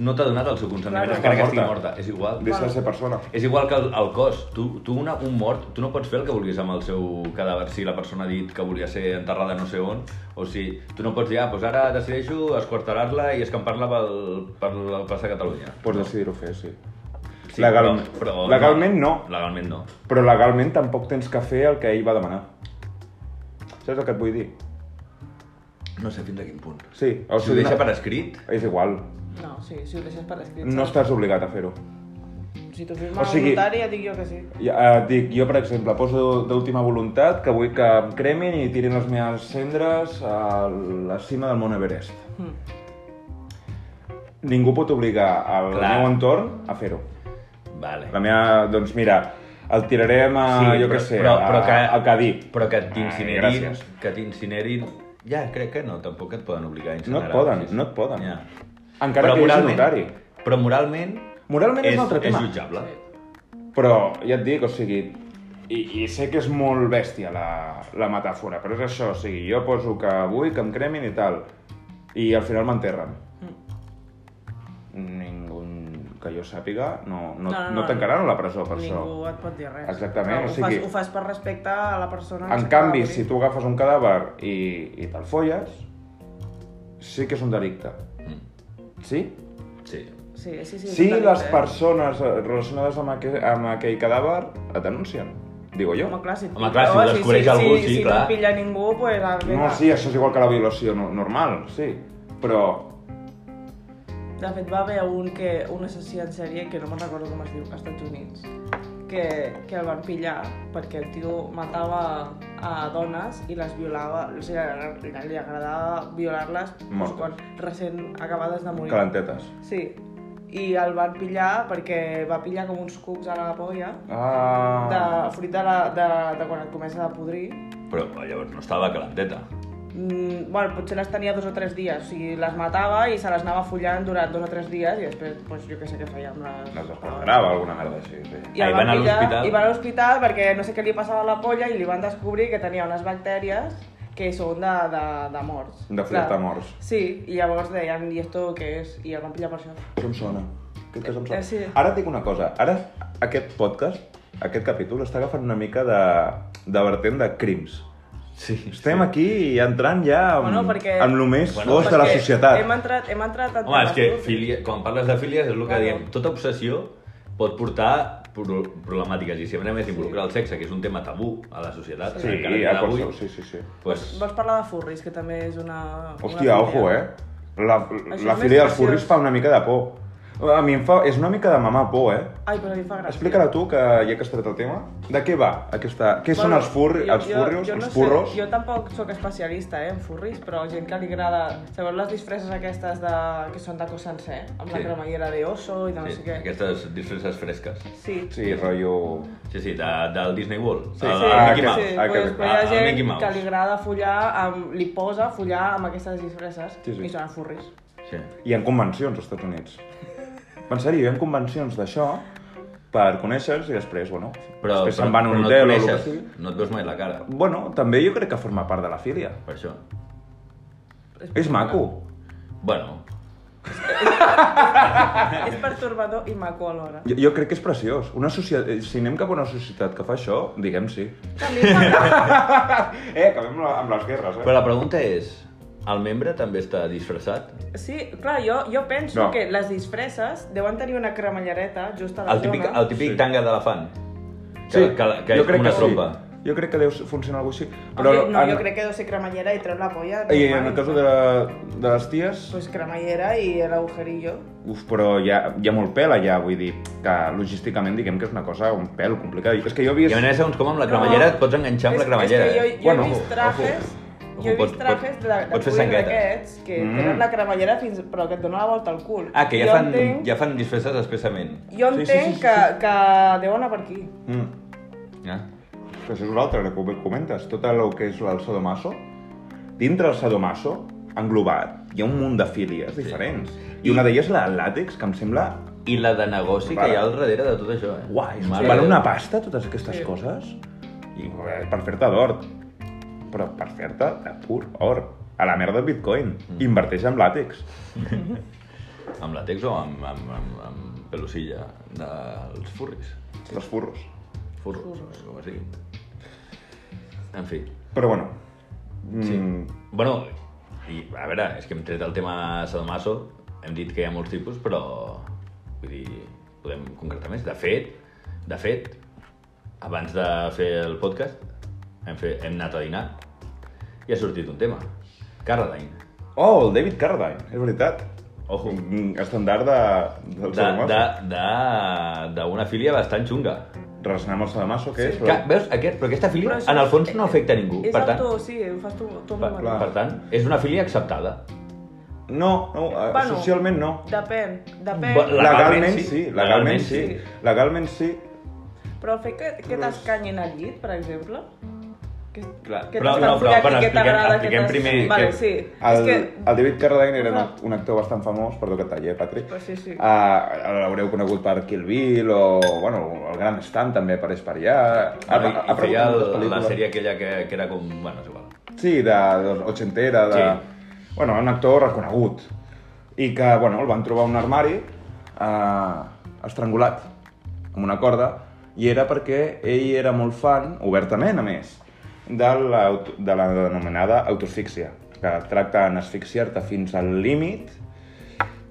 S1: no t'ha donat el seu consentiment,
S3: Clar,
S1: encara
S2: està
S1: que estigui
S2: morta.
S1: morta. És igual.
S2: Deixa de ser persona.
S1: És igual que el, el cos. Tu, tu una, un mort, tu no pots fer el que vulguis amb el seu cadàver si la persona ha dit que volia ser enterrada no sé on, o si tu no pots dir, ah, doncs ara decideixo esquarterar-la i escampar-la pel, per la plaça de Catalunya.
S2: Pots decidir-ho fer, sí.
S1: Sí,
S2: Legal- legalment no.
S1: Legalment no.
S2: Però legalment tampoc tens que fer el que ell va demanar. Saps el que et vull dir?
S1: No sé fins a quin punt.
S2: Sí. O
S1: Si ho deixa per escrit,
S2: És igual.
S3: No, sí, si ho deixes per escrit.
S2: No
S3: saps?
S2: estàs obligat a fer-ho.
S3: Si t'ho firma
S2: O
S3: o
S2: sigui-
S3: sigui... el notari, ja dic jo que sí.
S2: Ja, eh, dic, jo per exemple, poso d'última voluntat que vull que em cremin i tirin les meves cendres a la cima del Mont Everest.
S3: Mm.
S2: Ningú pot obligar al
S1: Clar.
S2: meu entorn a fer-ho.
S1: vale.
S2: La meva, doncs mira, el tirarem a,
S1: Sí,
S2: jo
S1: però-
S2: què sé, ah,
S1: però- però
S2: a,
S1: que-
S2: al Cadí.
S1: Però que
S2: Ai,
S1: t'incinerin...
S2: gràcies.
S1: que t'incinerin... Ja, crec que no, tampoc et poden obligar a
S2: No
S1: incinerar.
S2: et poden,
S1: sí, sí.
S2: no et poden.
S1: Ja.
S2: Encara que hi hagi notari.
S1: Però moralment...
S2: Moralment és,
S1: és,
S2: un altre tema.
S1: és jutjable.
S2: Però ja et dic, o sigui, i, i sé que és molt bèstia la, la metàfora, però és això, o sigui, jo poso que vull que em cremin i tal, i al final m'enterren.
S3: Mm.
S2: Ningú que jo sàpiga no, no, no, no, no tancaran a la presó per
S3: Ningú
S2: això.
S3: et pot dir res.
S2: Exactament,
S3: Però
S2: o
S3: ho,
S2: sigui-
S3: fas, ho fas per respecte a la persona.
S2: En canvi, si tu agafes un cadàver i, i te'l folles, sí que és un delicte.
S1: Mm.
S2: Sí?
S1: Sí.
S3: Sí, sí, sí.
S2: Si
S3: és
S2: sí,
S3: un delicte,
S2: les
S3: eh?
S2: persones eh, relacionades amb aquell, amb aquell cadàver et denuncien, digo jo.
S3: Home, clar, si,
S1: Home, clar, si ho
S3: Home,
S1: descobreix algú, sí,
S3: si, Si
S1: clar.
S3: no et pilla ningú, doncs... Pues, ah,
S2: No,
S3: vinga.
S2: sí, això és igual que la violació no, normal, sí. Però...
S3: De fet, va haver un que, un assassí en sèrie, que no me'n recordo com es diu, als Estats Units, que, que el van pillar perquè el tio matava a dones i les violava, o sigui, li, li agradava violar-les doncs,
S2: Mortes.
S3: quan recent acabades de morir.
S2: Calentetes.
S3: Sí, i el van pillar perquè va pillar com uns cucs a la polla de
S2: Ah...
S3: fruit de, la, de, de quan et comença a podrir.
S1: Però llavors no estava calenteta.
S3: Mm, bueno, potser les tenia dos o tres dies, o sigui, les matava i se les anava follant durant dos o tres dies i després, doncs, jo què sé què feia amb les...
S2: No es desquadrava, alguna merda així, sí.
S3: I
S1: Ah,
S3: el
S1: i
S3: van,
S1: van a
S3: pillar-
S1: l'hospital?
S3: I van a l'hospital perquè no sé què li passava a la polla i li van descobrir que tenia unes bactèries que són de, de, de morts.
S2: De flirtar
S3: Clar.
S2: morts.
S3: Sí, i llavors deien, i esto què és? I el van pillar per això.
S2: Això em sona. Aquest cas em sona.
S3: Eh, sí.
S2: Ara et dic una cosa. Ara aquest podcast, aquest capítol, està agafant una mica de, de vertent de crims.
S1: Sí.
S2: Estem aquí entrant ja amb,
S3: Bueno, perquè-
S2: amb lo més
S1: Bueno,
S2: fosc de la
S3: Perquè
S2: societat.
S3: Hem entrat, hem entrat en
S1: Home, és
S3: temes
S1: que
S3: durs.
S1: filia... quan parles de filies és el que
S3: Claro.
S1: diem. Tota obsessió pot portar pro problemàtiques i sempre més involucrar el sexe, que és un tema tabú a la societat.
S2: Sí,
S1: encara que
S2: a
S1: avui,
S2: qualsevol, sí, sí, sí.
S1: Pues,
S3: Vols parlar de furris, que també és una... una
S2: Hòstia,
S3: filia.
S2: ojo, eh? La,
S3: és
S2: la
S3: més
S2: filia dels
S3: preciós.
S2: furris fa una mica de por. A mi em fa... És una mica de mamar por, eh?
S3: Ai, però a mi em fa gràcia.
S2: Explica-la tu, que ja que has tret el tema, de què va aquesta... Què són
S3: Bueno,
S2: els furri,
S3: jo-
S2: els
S3: jo-
S2: furrios,
S3: jo no
S2: els
S3: sé,
S2: furros?
S3: Jo tampoc sóc especialista eh, en furris, però gent que li agrada... Sabeu les disfresses aquestes de, que són de cos sencer? Amb
S1: Sí.
S3: la cremallera de oso i de no
S1: sí,
S3: sé què.
S1: aquestes disfresses fresques.
S3: Sí.
S2: Sí, rotllo...
S1: Sí, sí, de, del Disney World.
S2: Sí,
S1: el,
S2: sí.
S1: el
S2: Ah,
S1: Mickey
S2: que-
S1: Mouse.
S3: sí,
S2: ah,
S3: pues,
S2: que-
S3: però hi ha
S1: ah, el Mickey
S3: gent
S1: Mouse.
S3: que li agrada follar, amb, li posa follar amb aquestes disfresses
S2: Sí, sí.
S3: i són furris.
S1: Sí.
S2: Hi ha convencions als Estats Units. En sèrio, hi ha convencions d'això per conèixer-los i després, bueno,
S1: Però, però,
S2: després se'n van a un
S1: però
S2: hotel
S1: no et
S2: o el que
S1: coneixes,
S2: sigui.
S1: no et veus mai la cara,
S2: Bueno, també jo crec que forma part de la filia.
S1: per això.
S2: És maco.
S1: Bueno,
S3: és pertorbador i maco alhora.
S2: Jo, jo crec que és preciós. Una societat, si anem cap a una societat que fa això, diguem sí.
S3: També em fa gràcia.
S2: Eh, acabem la- amb les guerres, eh?
S1: però la pregunta és, el membre també està disfressat?
S3: Sí, clar, jo, jo penso
S2: No.
S3: que les disfresses deuen tenir una cremallareta just a la
S1: El típic,
S3: zona.
S1: el típic
S2: Sí.
S1: tanga d'elefant, que, que, que és com una trompa.
S2: Sí. Jo crec que deu funcionar alguna cosa així.
S3: Però, no,
S2: en,
S3: jo crec que deu ser cremallera i treu la polla.
S2: I en
S3: normal.
S2: el cas de, de les ties...
S3: Pues cremallera i el agujerillo.
S2: Uf, però hi ha, hi ha molt pèl allà, vull dir, que logísticament diguem que és una cosa un pèl complicada. És que jo he
S1: I a
S2: vist...
S1: més, segons com amb la cremallera, et pots enganxar amb la cremallera.
S3: És que jo,
S1: eh?
S3: jo
S2: Bueno,
S3: he vist trajes Jo he vist trajes de, de
S1: pots fer
S3: cuir
S1: sangueta.
S3: d'aquests que
S2: Mm.
S3: tenen la cremallera fins... però que et dona la volta al cul.
S1: Ah, que ja
S3: jo
S1: fan,
S3: Entenc,
S1: ja fan disfresses expressament.
S3: Jo
S2: Sí, sí,
S3: entenc
S2: sí, sí,
S3: que,
S2: sí.
S3: que deu anar per aquí.
S2: Mm.
S1: Ja.
S2: Però això és una altra, que ho comentes, tot el que és el sadomaso, dintre el sadomaso, englobat, hi ha un munt de fílies diferents. I una d'elles la del làtex, que em sembla...
S1: I la de negoci que
S2: Vale.
S1: hi ha al darrere de tot això, eh?
S2: Uai, és
S1: Mare
S2: val
S1: de
S2: una
S1: Déu.
S2: pasta, totes aquestes
S3: Sí.
S2: coses? I eh, per fer-te d'or. Però per fer-te de pur or. A la merda bitcoin. Inverteix en làtex.
S1: Amb làtex o amb, amb, amb, amb pelusilla dels furris?
S2: Dels furros.
S1: Furros, Furros. com es digui. En fi.
S2: Però bueno...
S1: Sí.
S2: Mm,
S1: Bueno, i, a veure, és que hem tret el tema Sadomaso, hem dit que hi ha molts tipus, però vull dir, podem concretar més. De fet, de fet, abans de fer el podcast, hem, fe, hem anat a dinar i ha sortit un tema. Carradine.
S2: Oh, el David Carradine, és veritat.
S1: Ojo.
S2: Mm, Estandard de, del
S1: D'una
S2: sadomaso.
S1: de, de, d'una filia bastant xunga.
S2: Relacionar amb el sadomaso, que
S3: Sí.
S2: és...
S1: Que, veus, aquest, però aquesta filia,
S3: Però això
S1: en el fons,
S3: és-
S1: no afecta a ningú.
S3: És
S1: Per tant,
S3: auto, sí, ho fas tu, tu amb
S1: per,
S3: la mà.
S2: clar.
S1: per tant, és una filia acceptada.
S2: No, no eh,
S3: Bueno.
S2: socialment no.
S3: Depèn, depèn.
S1: Ba- la-
S2: Legalment sí, legalment sí.
S1: sí.
S2: Legalment sí.
S3: Però fer que, que t'escanyin al llit, per exemple, que,
S1: Clar,
S3: que
S1: però-
S3: t'has
S1: no, però,
S3: enfriat
S1: bueno,
S3: i què
S1: expliquem-
S3: t'agrada, què
S1: expliquem
S3: t'has-
S1: primer
S3: Vale,
S1: que-
S3: sí.
S2: El,
S3: És que...
S2: el David Carradine era una,
S3: Clar.
S2: un actor bastant famós, perdó que et tallé, Patrick.
S3: Pues sí,
S1: Ah.
S3: sí.
S2: Uh, L'haureu conegut per Kill Bill o, bueno, el Gran Stand també per Esparià. Ha,
S1: Bueno,
S2: ha,
S1: i- i
S2: aparegut
S1: feia
S2: en moltes
S1: el, la
S2: pel·lícules.
S1: sèrie aquella que, que era com... Bueno, és igual.
S2: Sí, de, de ochentera, de...
S1: Sí.
S2: Bueno, un actor reconegut. I que, bueno, el van trobar a un armari eh, estrangulat amb una corda i era perquè ell era molt fan, obertament a més, de, l'auto- de la denominada autosfíxia, que tracta en asfixiar-te fins al límit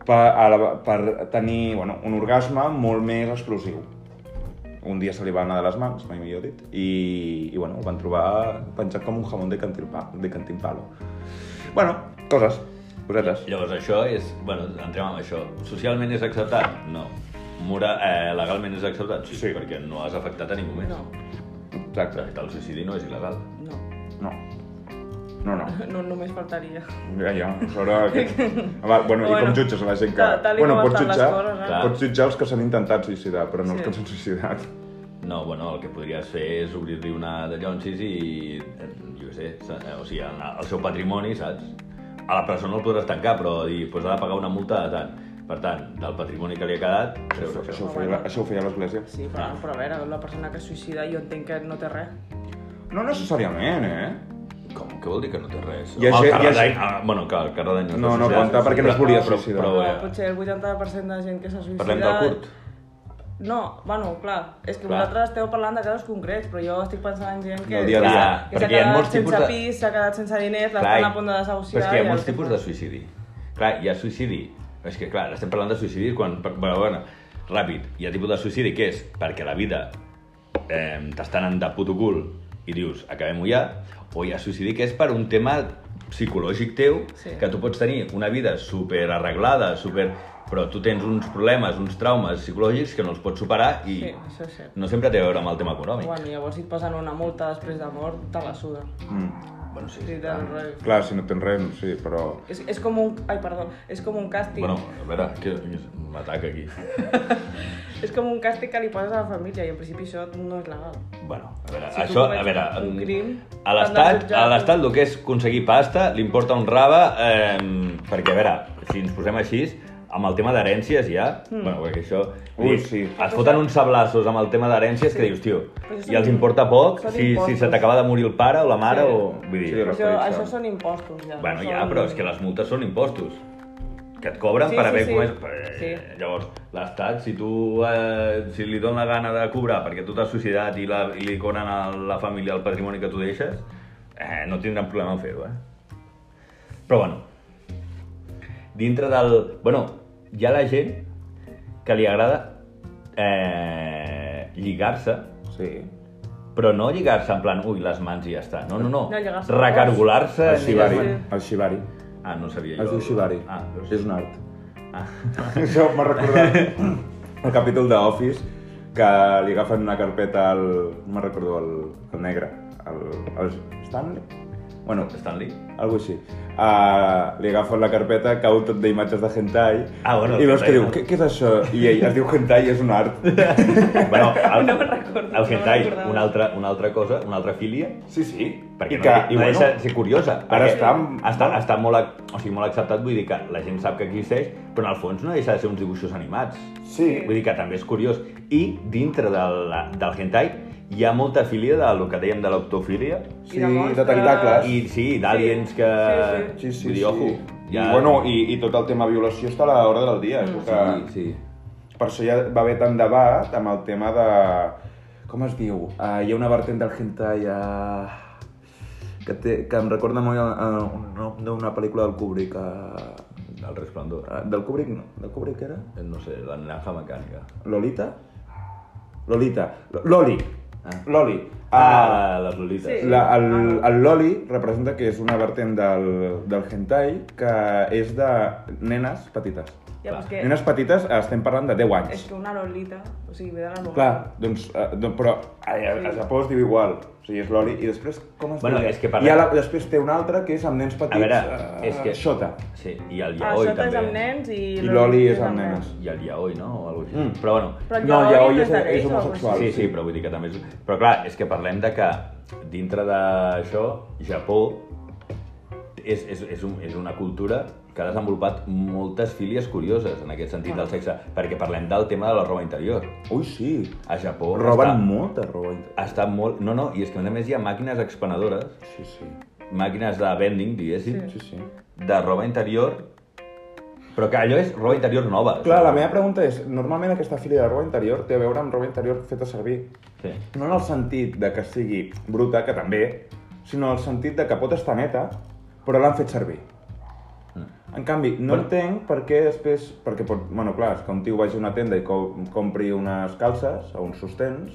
S2: per, a la, per tenir bueno, un orgasme molt més explosiu. Un dia se li va anar de les mans, mai millor dit, i, i bueno, el van trobar penjat com un jamón de, cantilpa, de cantimpalo. Bueno, coses, cosetes.
S1: Llavors, això és... Bueno, entrem en això. Socialment és acceptat? No. Mora, eh, legalment és acceptat? Sí,
S2: Sí.
S1: perquè no has afectat a ningú més.
S3: No,
S2: Exacte.
S1: El suïcidi no és il·legal.
S3: no,
S2: No. No, no.
S3: no només faltaria.
S2: Ja, ja, a sobre... Va, bueno, i
S3: Bueno,
S2: com jutges a la gent que...
S3: tal- tal i
S2: bueno,
S3: com
S2: pots
S3: estan les
S2: jutjar,
S3: coses, ara.
S1: Clar.
S2: pots jutjar els que s'han intentat suïcidar, però no
S3: Sí.
S2: els que s'han suïcidat.
S1: No, bueno, el que podries fer és obrir-li una de llonsis i... eh, Jo què sé, sa- eh, o sigui, el, el seu patrimoni, saps? A la persona el podràs tancar, però dir, doncs ha de pagar una multa de tant. Per tant, del patrimoni que li ha quedat, treure
S2: Això,
S1: això.
S2: ho feia, la- això ho feia l'Església.
S3: Sí,
S1: Ah.
S3: però, però a veure, la persona que es suïcida jo entenc que no té res.
S2: No necessàriament, eh?
S1: Com? Què vol dir que no té res?
S2: Hi ha
S1: Home,
S2: gent- hi
S1: el
S2: ha
S1: Carradine... Ah, bueno, clar, el Carradine no,
S2: No,
S1: està
S2: no
S1: suïcidat.
S2: compta perquè no es
S1: Però-
S2: volia
S1: però-
S2: suïcidar.
S1: Però,
S3: Però,
S1: eh,
S3: potser el 80% de gent que s'ha suïcidat...
S1: parlem del curt.
S3: No, bueno, clar, és que
S1: Clar.
S3: vosaltres esteu parlant de casos concrets, però jo estic pensant en gent que,
S2: Del dia a dia.
S1: Clar,
S3: que s'ha
S1: perquè hi ha
S3: quedat
S1: molts
S3: sense
S1: tipus de-
S3: pis, s'ha quedat sense diners,
S1: Clar,
S3: l'estan a punt de desahuciar...
S1: Però és que hi
S3: i
S1: ha
S3: el
S1: molts
S3: que
S1: tipus
S3: fa.
S1: de suïcidi. Clar, hi ha suïcidi. És que, clar, estem parlant de suïcidi quan... Bueno, bueno, ràpid. Hi ha tipus de suïcidi que és perquè la vida eh, t'està anant de puto cul i dius, acabem-ho ja, o hi ha suïcidi que és per un tema psicològic teu,
S3: Sí.
S1: que tu pots tenir una vida super arreglada, super... però tu tens uns problemes, uns traumes psicològics que no els pots superar i
S3: Sí, això és cert.
S1: no sempre té a veure amb el tema econòmic.
S3: Bueno, llavors si et posen una multa després de mort, te la suda.
S2: Mm.
S1: Bueno, sí,
S3: Sí,
S1: clar.
S3: del rotllo.
S2: Clar, si no tens res, no sé, però...
S3: És, és com un... Ai, perdó. És com un càstig.
S1: Bueno, a veure, que m'ataca aquí.
S3: És com un càstig que li poses a la família i en principi això no és legal.
S1: Bueno, a veure,
S3: Si tu
S1: això, a
S3: comets
S1: veure,
S3: un crim,
S1: a
S3: t'han de
S1: l'estat,
S3: jutjar.
S1: a l'estat el que és aconseguir pasta li importa un raba, eh, perquè a veure, si ens posem així, amb el tema d'herències ja,
S3: Hmm.
S1: mm. bueno, perquè això...
S2: Ui,
S1: dic,
S2: sí.
S1: Es foten uns sablassos amb el tema d'herències que
S3: Sí.
S1: dius, tio,
S3: Però això
S1: i els
S3: són-
S1: importa poc
S3: són
S1: si, si
S3: impostos.
S1: se t'acaba de morir el pare o la mare
S3: Sí.
S1: o... Vull dir,
S2: Sí,
S3: Però
S2: Però
S3: això,
S2: per això-
S3: això són impostos, ja.
S1: Bueno,
S3: no
S1: ja,
S3: són-
S1: però és que les multes són impostos que et cobren
S3: Sí,
S1: per
S3: sí,
S1: haver
S3: sí.
S1: comès... Eh,
S3: Sí.
S1: Llavors, l'Estat, si tu eh, si li dona la gana de cobrar perquè tu t'has suïcidat i, la, i li conen a la família el patrimoni que tu deixes, eh, no tindran problema en fer-ho, eh? Però bueno, dintre del... Bueno, hi ha la gent que li agrada eh, lligar-se,
S2: Sí.
S1: però no lligar-se en plan, ui, les mans i ja està. No, no, no.
S3: No, lligar-se al
S1: Recargolar-se.
S2: El
S1: ni-
S2: shibari.
S3: sí.
S2: El shibari.
S1: Ah, no sabia jo.
S2: Es diu shibari.
S1: Ah, veus?
S2: És un art.
S1: Ah.
S2: Això m'ha recordat el capítol de Office que li agafen una carpeta al... no me'n recordo, al, al negre. Al, al Stanley? Bueno,
S1: Stanley?
S2: algo així. Uh, li agafen la carpeta, cau tot d'imatges de hentai,
S1: Ah, bueno,
S2: i veus que
S1: hentai,
S2: diu,
S1: no.
S2: què, què és això? I ell es diu hentai i és un art.
S1: bueno, el,
S3: No me'n recordo, no
S1: El
S3: me'n
S1: hentai,
S3: recordava.
S1: una altra, una altra cosa, una altra filia,
S2: Sí, sí.
S1: perquè
S2: I
S1: no,
S2: que,
S1: i no
S2: bueno,
S1: deixa de ser curiosa.
S2: ara
S1: perquè
S2: està amb-
S1: està, està molt, ac- o sigui, molt acceptat, vull dir que la gent sap que existeix, però en el fons no deixa de ser uns dibuixos animats.
S2: Sí,
S1: Vull dir que també és curiós. I dintre de la, del hentai hi ha molta filia del que dèiem de l'octofília.
S2: sí,
S3: I de monstres.
S2: de tentacles.
S1: I sí, d'aliens que...
S3: Sí,
S2: Sí, sí,
S1: Vull
S2: sí.
S1: dir, ojo,
S2: I, bueno, i, i tot el tema violació està a l'hora del dia. Mm. Que...
S1: Ah, Sí, sí.
S2: Per això ja va haver tant debat amb el tema de... Com es diu? Uh, hi ha una vertent del hentai uh, que, té, que em recorda molt uh, un nom d'una pel·lícula del Kubrick. Uh,
S1: El resplendor.
S2: uh, del Kubrick no, del Kubrick era?
S1: No sé, la naranja mecànica.
S2: Lolita? Lolita. L- Loli.
S1: Ah.
S2: Loli. Uh,
S1: Ah, les lolites.
S3: Sí.
S2: la, el, el Loli representa que és una vertent del, del hentai que és de nenes petites.
S3: Ja, però és que,
S2: Nenes petites, estem parlant de 10 anys.
S3: és que una lolita, o sigui, ve de la
S2: Clar,
S3: novel·la.
S2: doncs, eh, doncs però a, a, a Japó es diu igual. O sigui, és l'oli. I després, com es
S1: Bueno,
S2: diria?
S1: és que parlem-
S2: I la, després té un altre que és amb nens petits.
S1: A veure,
S2: eh,
S1: és que-
S2: Xota.
S1: Sí, i el
S3: Ah,
S1: yaoi
S3: això és
S1: també.
S3: amb nens i...
S2: I
S3: la
S2: l'oli
S3: lolita
S2: és amb nenes.
S1: I el yaoi, no? O alguna cosa així.
S2: Mm.
S1: Però bueno,
S3: Però el
S2: No, el
S3: yaoi
S2: yaoi
S3: no
S2: és,
S3: és de
S2: és
S3: nens o algo
S2: homosexual.
S1: Sí, sí, però vull dir que també és... Però clar, és que parlem de que dintre d'això, Japó és, és, és, un, és una cultura que ha desenvolupat moltes fílies curioses en aquest sentit del sexe, perquè parlem del tema de la roba interior.
S2: Ui, sí.
S1: A Japó
S2: Roben
S1: està,
S2: molta roba. inter-
S1: està molt... No, no, i és que a més hi ha màquines expenedores,
S2: Sí, sí.
S1: màquines de vending, diguéssim,
S2: Sí, sí.
S1: de roba interior, però que allò és roba interior nova.
S2: Clar, la meva pregunta és, normalment aquesta fila de roba interior té a veure amb roba interior feta servir.
S1: Sí.
S2: No en el sentit de que sigui bruta, que també, sinó en el sentit de que pot estar neta, però l'han fet servir. En canvi, no
S1: Bueno.
S2: entenc per què després... Perquè, pot, bueno, clar, és que un tio vagi a una tenda i co compri unes calces o uns sostens,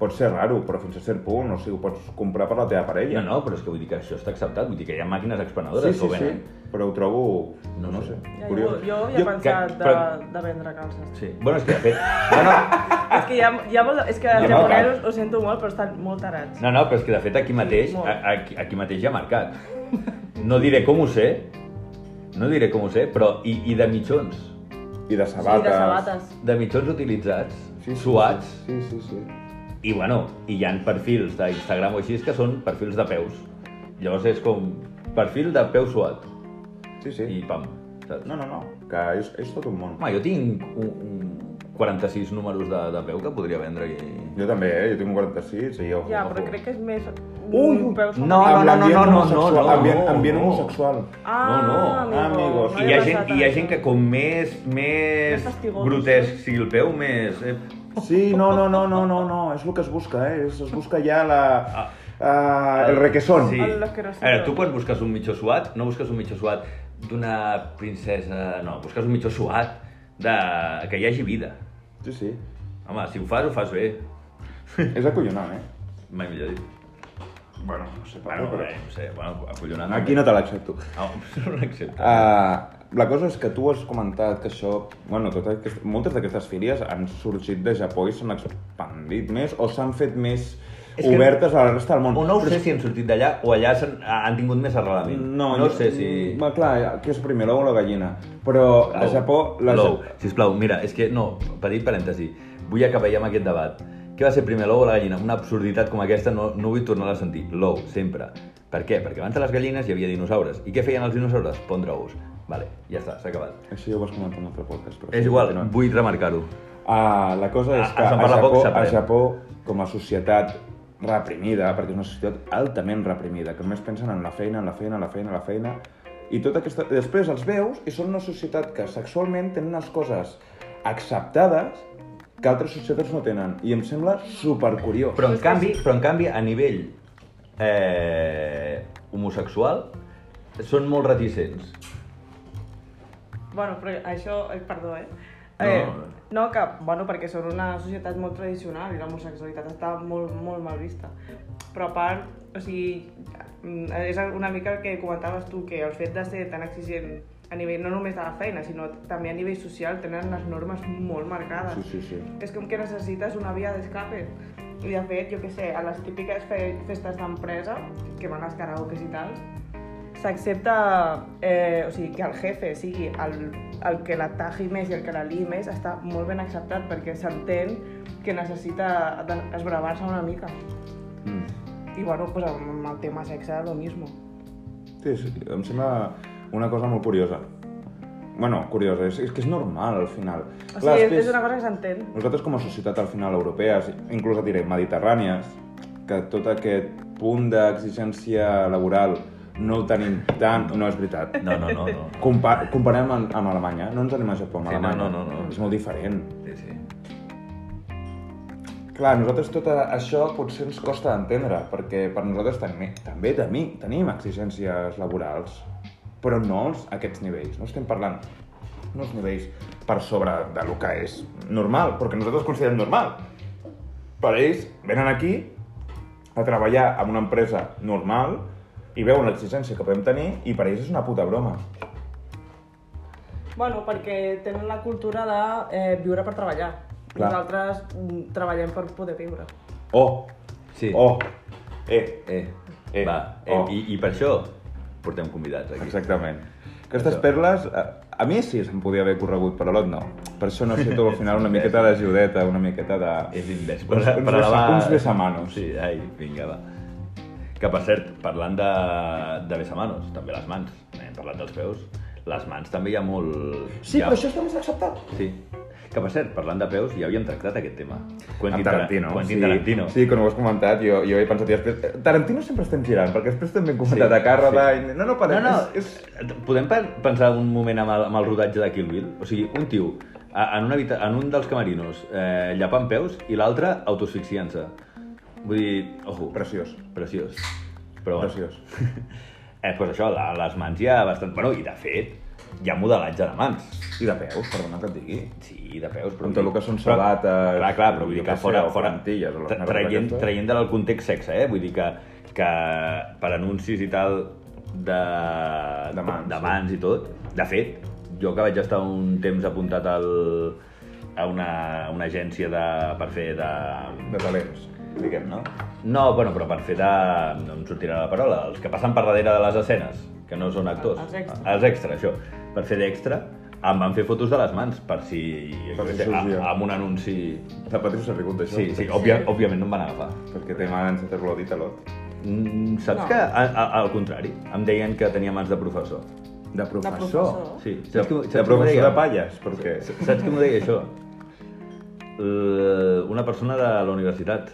S2: pot ser raro, però fins a cert punt, o sigui, ho pots comprar per la teva
S1: No,
S2: parella.
S1: no, però és que vull dir que això està acceptat, vull dir que hi ha màquines expenedores
S2: sí,
S1: que ho
S2: sí, sí,
S1: venen.
S2: però ho trobo,
S1: eh? No
S2: no, no
S1: sé.
S2: sé,
S3: Ja, jo,
S2: curiós.
S3: jo havia
S1: Jo-
S3: pensat
S1: que-
S3: de,
S1: però-
S3: de vendre calces.
S1: Sí. Bueno, és que de fet...
S3: És que, ja, ja vol, és que els
S2: Ah. No, no,
S3: japonesos ho sento molt, però estan molt tarats.
S1: No, no, però és que de fet aquí mateix,
S3: Molt.
S1: a- aquí, aquí mateix hi ha mercat. No diré com ho sé, no diré com ho sé, però i, i de mitjons,
S2: I de
S3: Sí,
S2: sabates.
S3: de sabates.
S1: de mitjons utilitzats,
S2: Sí, sí,
S1: suats,
S2: Sí, sí, sí.
S1: i bueno, i hi ha perfils d'Instagram o així que són perfils de peus. Llavors és com perfil de peu suat,
S2: Sí, sí.
S1: i pam, saps?
S2: No, no, no, que és, és tot un món.
S1: Home, jo tinc un, un 46 números de, de peu que podria vendre aquí.
S2: Jo també, eh? Jo tinc un 46 i jo...
S3: Ja, però crec que és més...
S2: Ui,
S3: un peu
S1: no,
S3: femení.
S1: no, no,
S2: l'ambient
S1: no, no, no,
S2: homosexual,
S1: no, no,
S2: ambient,
S1: no.
S2: ambient homosexual.
S3: Ah,
S1: No, no,
S2: amigos.
S3: no
S1: I
S3: havia
S1: hi ha gent,
S3: pensat en
S1: hi ha
S3: això.
S1: gent que com més, més,
S3: Més fastigosos,
S1: grotesc sigui el peu, més... Eh,
S2: Sí, no, no, no, no, no, no, és el que es busca, eh? Es, es busca ja la... Uh, el requesón.
S1: Ah. Sí.
S3: El
S1: A
S3: asquerosillo.
S1: veure, tu quan busques un mitjó suat, no busques un mitjó suat d'una princesa... No, busques un mitjó suat de... que hi hagi vida.
S2: sí, sí.
S1: Home, si ho fas, ho fas bé.
S2: És acollonant, eh?
S1: Mai millor dit.
S2: Bueno, no sé per
S1: Bueno,
S2: què,
S1: eh, no sé, bueno, acollonat.
S2: però... Aquí no te l'accepto.
S1: Ah, no l'accepto.
S2: Uh, la cosa és que tu has comentat que això... Bueno, totes aquestes, moltes d'aquestes fílies han sorgit de Japó i s'han expandit més o s'han fet més
S1: És que-
S2: obertes a la resta del món.
S1: O no ho
S2: Però
S1: sé si han sortit d'allà o allà s'han- han tingut més arrelament.
S2: No,
S1: no
S2: jo- Mm,
S1: sé si...
S2: Va, clar, què és primer, l'ou o la gallina? Però a
S1: L'ou.
S2: Japó... La...
S1: L'ou, sisplau, mira, és que no, petit parèntesi, vull acabar ja amb aquest debat. Què va ser primer, l'ou o la gallina? Una absurditat com aquesta no, no vull tornar a sentir. L'ou, sempre. Per què? Perquè abans de les gallines hi havia dinosaures. I què feien els dinosaures? Pondre ous. Vale, ja està, s'ha acabat.
S2: Això ja ho vas comentar en un altre podcast. Però
S1: És
S2: sí,
S1: igual,
S2: continuem.
S1: vull remarcar-ho.
S2: Ah, la cosa és
S1: Ah,
S2: que
S1: se'n
S2: a,
S1: parla poc,
S2: Japó, a
S1: s'aprèn.
S2: Japó, com a societat reprimida, perquè és una societat altament reprimida, que només pensen en la feina, en la feina, en la feina, en la feina, i tota aquesta... Després els veus i són una societat que sexualment tenen unes coses acceptades que altres societats no tenen. I em sembla supercuriós.
S1: Però en canvi, però en canvi a nivell eh, homosexual, són molt reticents.
S3: Bueno, però això... Ai, perdó, eh?
S1: No,
S3: eh
S1: no, no.
S3: no, que, bueno, perquè són una societat molt tradicional i l'homosexualitat està molt, molt mal vista. Però a part, eh, o sigui, mm, és una mica el que comentaves tu, que el fet de ser tan exigent a nivell no només de la feina, sinó també a nivell social, tenen les normes molt marcades.
S2: Sí, sí, sí.
S3: És com que necessites una via d'escape. I de fet, jo que sé, a les típiques fe festes d'empresa, que van als karaokes i tals, s'accepta, eh, o sigui, que el jefe sigui el, el que la taji més i el que la liï més, està molt ben acceptat perquè s'entén que necessita de- esbravar-se una mica.
S2: Mm.
S3: I bueno, pues amb el tema sexe, lo mismo.
S2: Sí, sí, em sembla una cosa molt curiosa. Bueno, curiosa, és, és que és normal al final.
S3: O sigui, és,
S2: després,
S3: és una cosa que s'entén.
S2: Nosaltres com a societat al final europees, inclús et diré mediterrànies, que tot aquest punt d'exigència laboral no el tenim tant, no és veritat.
S1: No, no, no, no.
S2: Compa comparem amb, amb Alemanya, no ens anem a Japó amb
S1: Sí, no,
S2: Alemanya.
S1: no, no, no.
S2: És molt diferent.
S1: Sí, sí.
S2: Clar, a nosaltres tot a- això potser ens costa d'entendre, perquè per nosaltres tenim, també tenim, tenim exigències laborals, però no els, aquests nivells. No estem parlant d'uns nivells per sobre de lo que és normal, perquè nosaltres considerem normal. Per ells, venen aquí a treballar en una empresa normal i veuen l'exigència que podem tenir i per ells és una puta broma.
S3: Bueno, perquè tenen la cultura de eh, viure per treballar.
S2: Clar.
S3: Nosaltres mm, treballem per poder viure.
S2: Oh,
S1: Sí.
S2: oh, eh,
S1: Eh,
S2: Eh,
S1: va, eh,
S2: oh.
S1: i, i per això portem convidats aquí.
S2: Exactament. Aquestes
S1: Això.
S2: perles, a, a mi sí se'm podia haver corregut, però a l'Ot no. Per això necessito al final una miqueta de judeta, una miqueta de...
S1: És invers.
S2: Uns- uns besa- uns besamanos.
S1: Sí, ai, vinga, va. Que, per cert, parlant de, de besamanos, també les mans, hem parlat dels peus, les mans també hi ha molt... hi ha...
S2: també s'ha acceptat.
S1: Sí. Que, per cert, parlant de peus, ja havíem tractat aquest tema.
S2: Amb
S1: Tara-
S2: Tarantino.
S1: Quentin Tarantino.
S2: Sí, quan ho has comentat, jo, jo he pensat i després... eh, Tarantino sempre estem girant, perquè després també hem comentat
S1: Sí,
S2: a Càrrega
S1: sí.
S2: i... No, no, parem,
S1: no, no,
S2: és... és...
S1: Podem pe- pensar un moment amb el, amb el rodatge de Kill Bill? O sigui, un tio a- en, una habita... en un dels camerinos eh, llapant peus i l'altre autosfixiant-se. Vull dir, ojo,
S2: Preciós.
S1: preciós. Però, bueno.
S2: Preciós.
S1: Eh, doncs això, la, les mans hi ha bastant... Bueno, i de fet, hi ha modelatge de mans.
S2: I de peus, perdona que et digui.
S1: Sí, de peus, però... vull
S2: Amb tot el
S1: dir-
S2: que són
S1: però-
S2: sabates,
S1: Clar, clar, però vull
S2: jo
S1: dir
S2: què
S1: que
S2: sé,
S1: fora...
S2: o
S1: fora
S2: plantilles, o les eh?
S1: tra-
S2: merdes
S1: traient,
S2: d'aquestes.
S1: traient del context sexe, eh? Vull dir que, que per anuncis i tal de,
S2: De mans,
S1: de
S2: sí.
S1: mans i tot. De fet, jo que vaig estar un temps apuntat al, a una, una agència de, per fer de...
S2: De talents, diguem, no?
S1: No, bueno, però per fer de... No em sortirà la paraula. Els que passen per darrere de les escenes, que no són actors.
S3: Els extra.
S1: Els extra, això. Per fer d'extra, em van fer fotos de les mans, per si...
S2: Per si
S1: jo què sé,
S2: sorgia.
S1: a- amb un anunci...
S2: La Patriu s'ha rigut d'això.
S1: Sí, sí, òbvia, òbviament no em van agafar.
S2: Perquè té mans de terlodit a l'Ot.
S1: Mm, saps
S3: No.
S1: que, a, a, al contrari, em deien que tenia mans de professor.
S2: De professor.
S3: professor.
S1: Sí, saps,
S2: De,
S1: que, saps,
S2: de
S1: que m'ho
S2: professor
S1: deia?
S2: de palles, perquè...
S1: saps que m'ho deia això? L- Eh, Una persona de la universitat.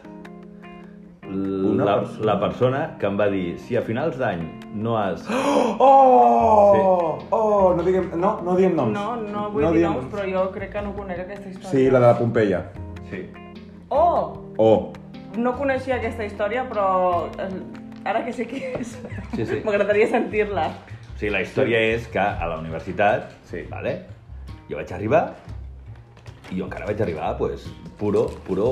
S1: L-
S2: Una
S1: la,
S2: persona?
S1: la persona que em va dir, si a finals d'any no has...
S2: Oh! Oh, no diguem, no, no diem noms.
S3: No, no vull dir
S2: diem
S3: noms, però jo crec que no conec aquesta història.
S2: Sí, la de la Pompeia.
S1: Sí.
S3: Oh!
S2: Oh,
S3: No coneixia aquesta història, però eh, ara que sé qui és,
S1: Sí, sí.
S3: m'agradaria sentir-la.
S1: O sigui, la història és que a la universitat,
S2: Sí.
S1: vale, jo vaig arribar i jo encara vaig arribar, pues, puro, puro...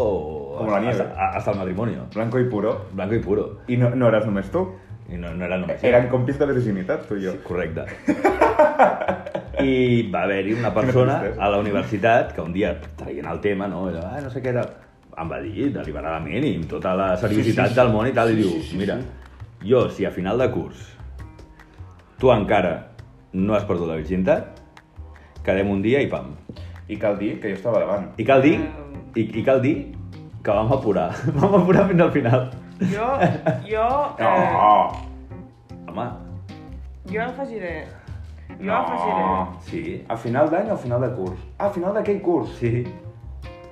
S2: Com la nieve.
S1: Hasta, hasta el matrimonio.
S2: blanco i puro.
S1: Blanco i puro.
S2: I no, no eres només tu.
S1: I no, no era només
S2: Eren compis de virginitat, tu i jo.
S1: Sí, correcte. I va haver-hi una persona
S2: tristesa.
S1: a la universitat que un dia, traient el tema, no, era, ah, no sé què era, em va dir deliberadament i amb tota la seriositat
S2: Sí, sí, sí.
S1: del món i tal,
S2: Sí,
S1: i diu,
S2: sí, sí,
S1: mira, jo, si a final de curs tu encara no has perdut la virginitat, quedem un dia i pam.
S2: I cal dir que jo estava davant.
S1: I cal dir, i, i cal dir que vam apurar, vam apurar fins al final.
S3: Jo, jo,
S2: No!
S3: eh,
S1: Home,
S3: jo afegiré, jo
S2: No.
S3: afegiré.
S1: sí,
S2: A final d'any o a final de curs? Ah, a final d'aquell curs.
S1: sí,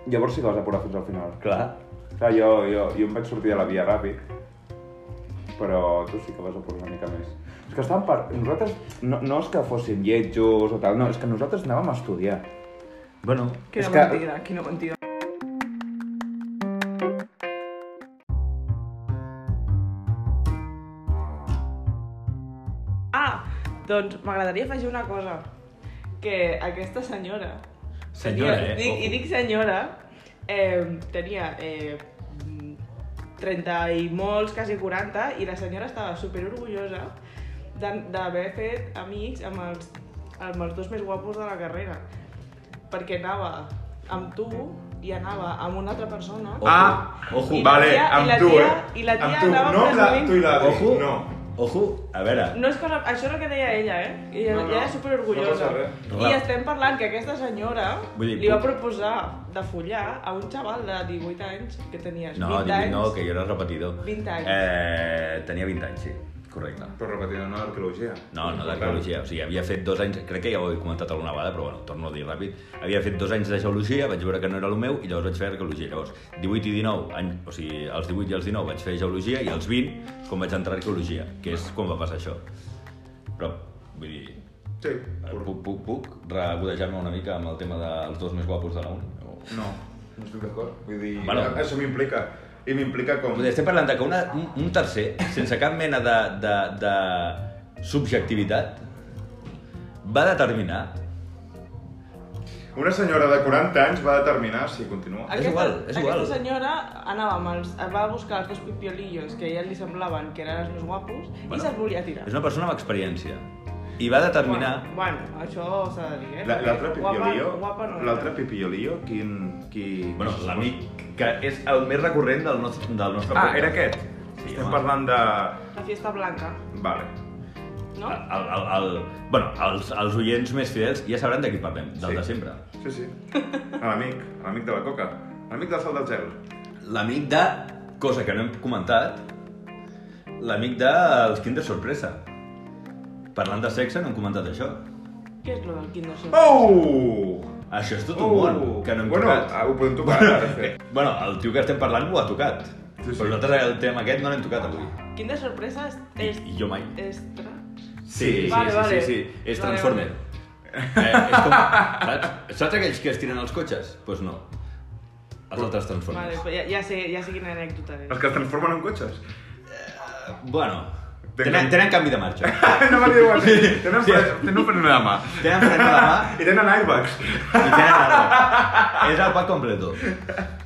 S2: Llavors sí que vas apurar fins al final.
S1: clar.
S2: Clar, jo, jo, jo em vaig sortir de la via ràpid, però tu sí que vas apurar una mica més. És que estàvem per... Nosaltres no, no és que fóssim lletjos o tal, no, és que nosaltres anàvem a estudiar.
S1: Bueno,
S3: Quina
S2: És que-
S3: mentida, quina mentida. Ah, doncs m'agradaria afegir una cosa. Que aquesta senyora...
S1: Senyora,
S3: tenia,
S1: eh?
S3: Dic, I
S1: Ojo.
S3: dic senyora, eh, tenia eh, mm, 30 i molts, quasi 40, i la senyora estava super orgullosa d'haver fet amics amb els amb els dos més guapos de la carrera. Perquè anava amb tu i anava amb una altra persona.
S1: Ojo.
S2: Ah,
S1: Ojo.
S3: I la
S2: vale,
S3: tia- i
S2: amb
S3: la
S2: tu,
S3: tia-
S2: eh?
S3: i la
S2: amb
S3: tia
S2: tu,
S3: anava
S2: no amb la,
S3: presuint.
S2: tu i la
S1: Ojo,
S2: no.
S1: ojo, a veure,
S3: No és cosa... Això és el que deia ella, eh? I ella,
S2: No, no.
S3: ella és
S2: No passa
S3: superorgullosa.
S2: res.
S1: Clar.
S3: I estem parlant que aquesta senyora
S1: Vull dir,
S3: li va
S1: puc-
S3: proposar de follar a un xaval de 18 anys que tenies
S1: no,
S3: 20
S1: dic,
S3: anys.
S1: no, que jo era repetidor.
S3: 20 anys.
S1: Eh, tenia 20 anys, sí, correcte.
S2: Però repetida, no d'arqueologia.
S1: No, no d'arqueologia, o sigui, havia fet dos anys, crec que ja ho he comentat alguna vegada, però bueno, torno a dir ràpid, havia fet dos anys de geologia, vaig veure que no era el meu i llavors vaig fer arqueologia. Llavors, 18 i 19, any, o sigui, als 18 i als 19 vaig fer geologia i als 20 és quan vaig entrar a arqueologia, que és quan va passar això. Però, vull dir,
S2: Sí.
S1: puc, puc, puc regodejar-me una mica amb el tema dels dos més guapos de la uni? O...
S2: No, no estic d'acord. Vull dir, eh,
S1: Bueno.
S2: això m'implica. I m'implica com...
S1: Estem parlant de que una, un, un tercer, sense cap mena de, de, de subjectivitat, va determinar
S2: Una senyora de 40 anys va determinar si continua.
S1: És igual, és igual.
S3: Aquesta senyora anava amb els, va buscar els dos pipiolillos que a ella li semblaven que eren els més guapos
S1: Bueno,
S3: i se'ls volia tirar.
S1: És una persona amb experiència. I va determinar...
S3: Bueno, bueno això s'ha de dir, eh?
S2: La- L'altre
S3: Guapa-
S2: pipiolio,
S3: Guapa no era.
S2: l'altre pipiolio, quin... Qui...
S1: Bueno, l'amic que és el més recurrent del nostre, del nostre
S2: Ah,
S1: podcast.
S2: era aquest.
S1: Sí,
S2: Estem
S1: home.
S2: parlant de...
S3: La fiesta blanca,
S2: Vale.
S3: no?
S1: El, el, el, bueno, els, els oients més fidels ja sabran de qui parlem, del
S2: Sí.
S1: de sempre.
S2: Sí, sí. A L'amic, a l'amic de la coca. a L'amic del sal del gel.
S1: L'amic de... Cosa que no hem comentat. L'amic dels Kinder Sorpresa. Parlant de sexe, no hem comentat això.
S3: Què és lo del Kinder Sorpresa?
S2: Oh!
S1: Això és tot un món, que no hem
S2: bueno,
S1: tocat.
S2: ah, ho podem tocar ara, de fet.
S1: Bueno, el tio que estem parlant ho ha tocat.
S2: Sí, sí.
S1: Però nosaltres el tema aquest no l'hem tocat avui.
S3: Kinder Sorpresa és...
S1: I,
S3: és
S1: Oh! i jo mai.
S3: és tra...
S1: Sí, sí,
S3: Vale,
S1: sí,
S3: vale.
S1: sí, sí, és
S3: Vale,
S1: Transformer. Eh, és com, saps? saps aquells que es tiren els cotxes? Doncs pues no. Els altres
S3: Vale,
S1: Transformers.
S3: però ja, ja, sé, ja sé quina anècdota
S2: Els
S3: és.
S2: que es transformen en cotxes.
S1: Eh, Bueno,
S2: Tenen-
S1: tenen, tenen canvi de marxa.
S2: no me diu així. Tenen, fre- tenen freno de mà.
S1: Tenen frena de mà
S2: I tenen airbags.
S1: i tenen arbre. És el pack completo.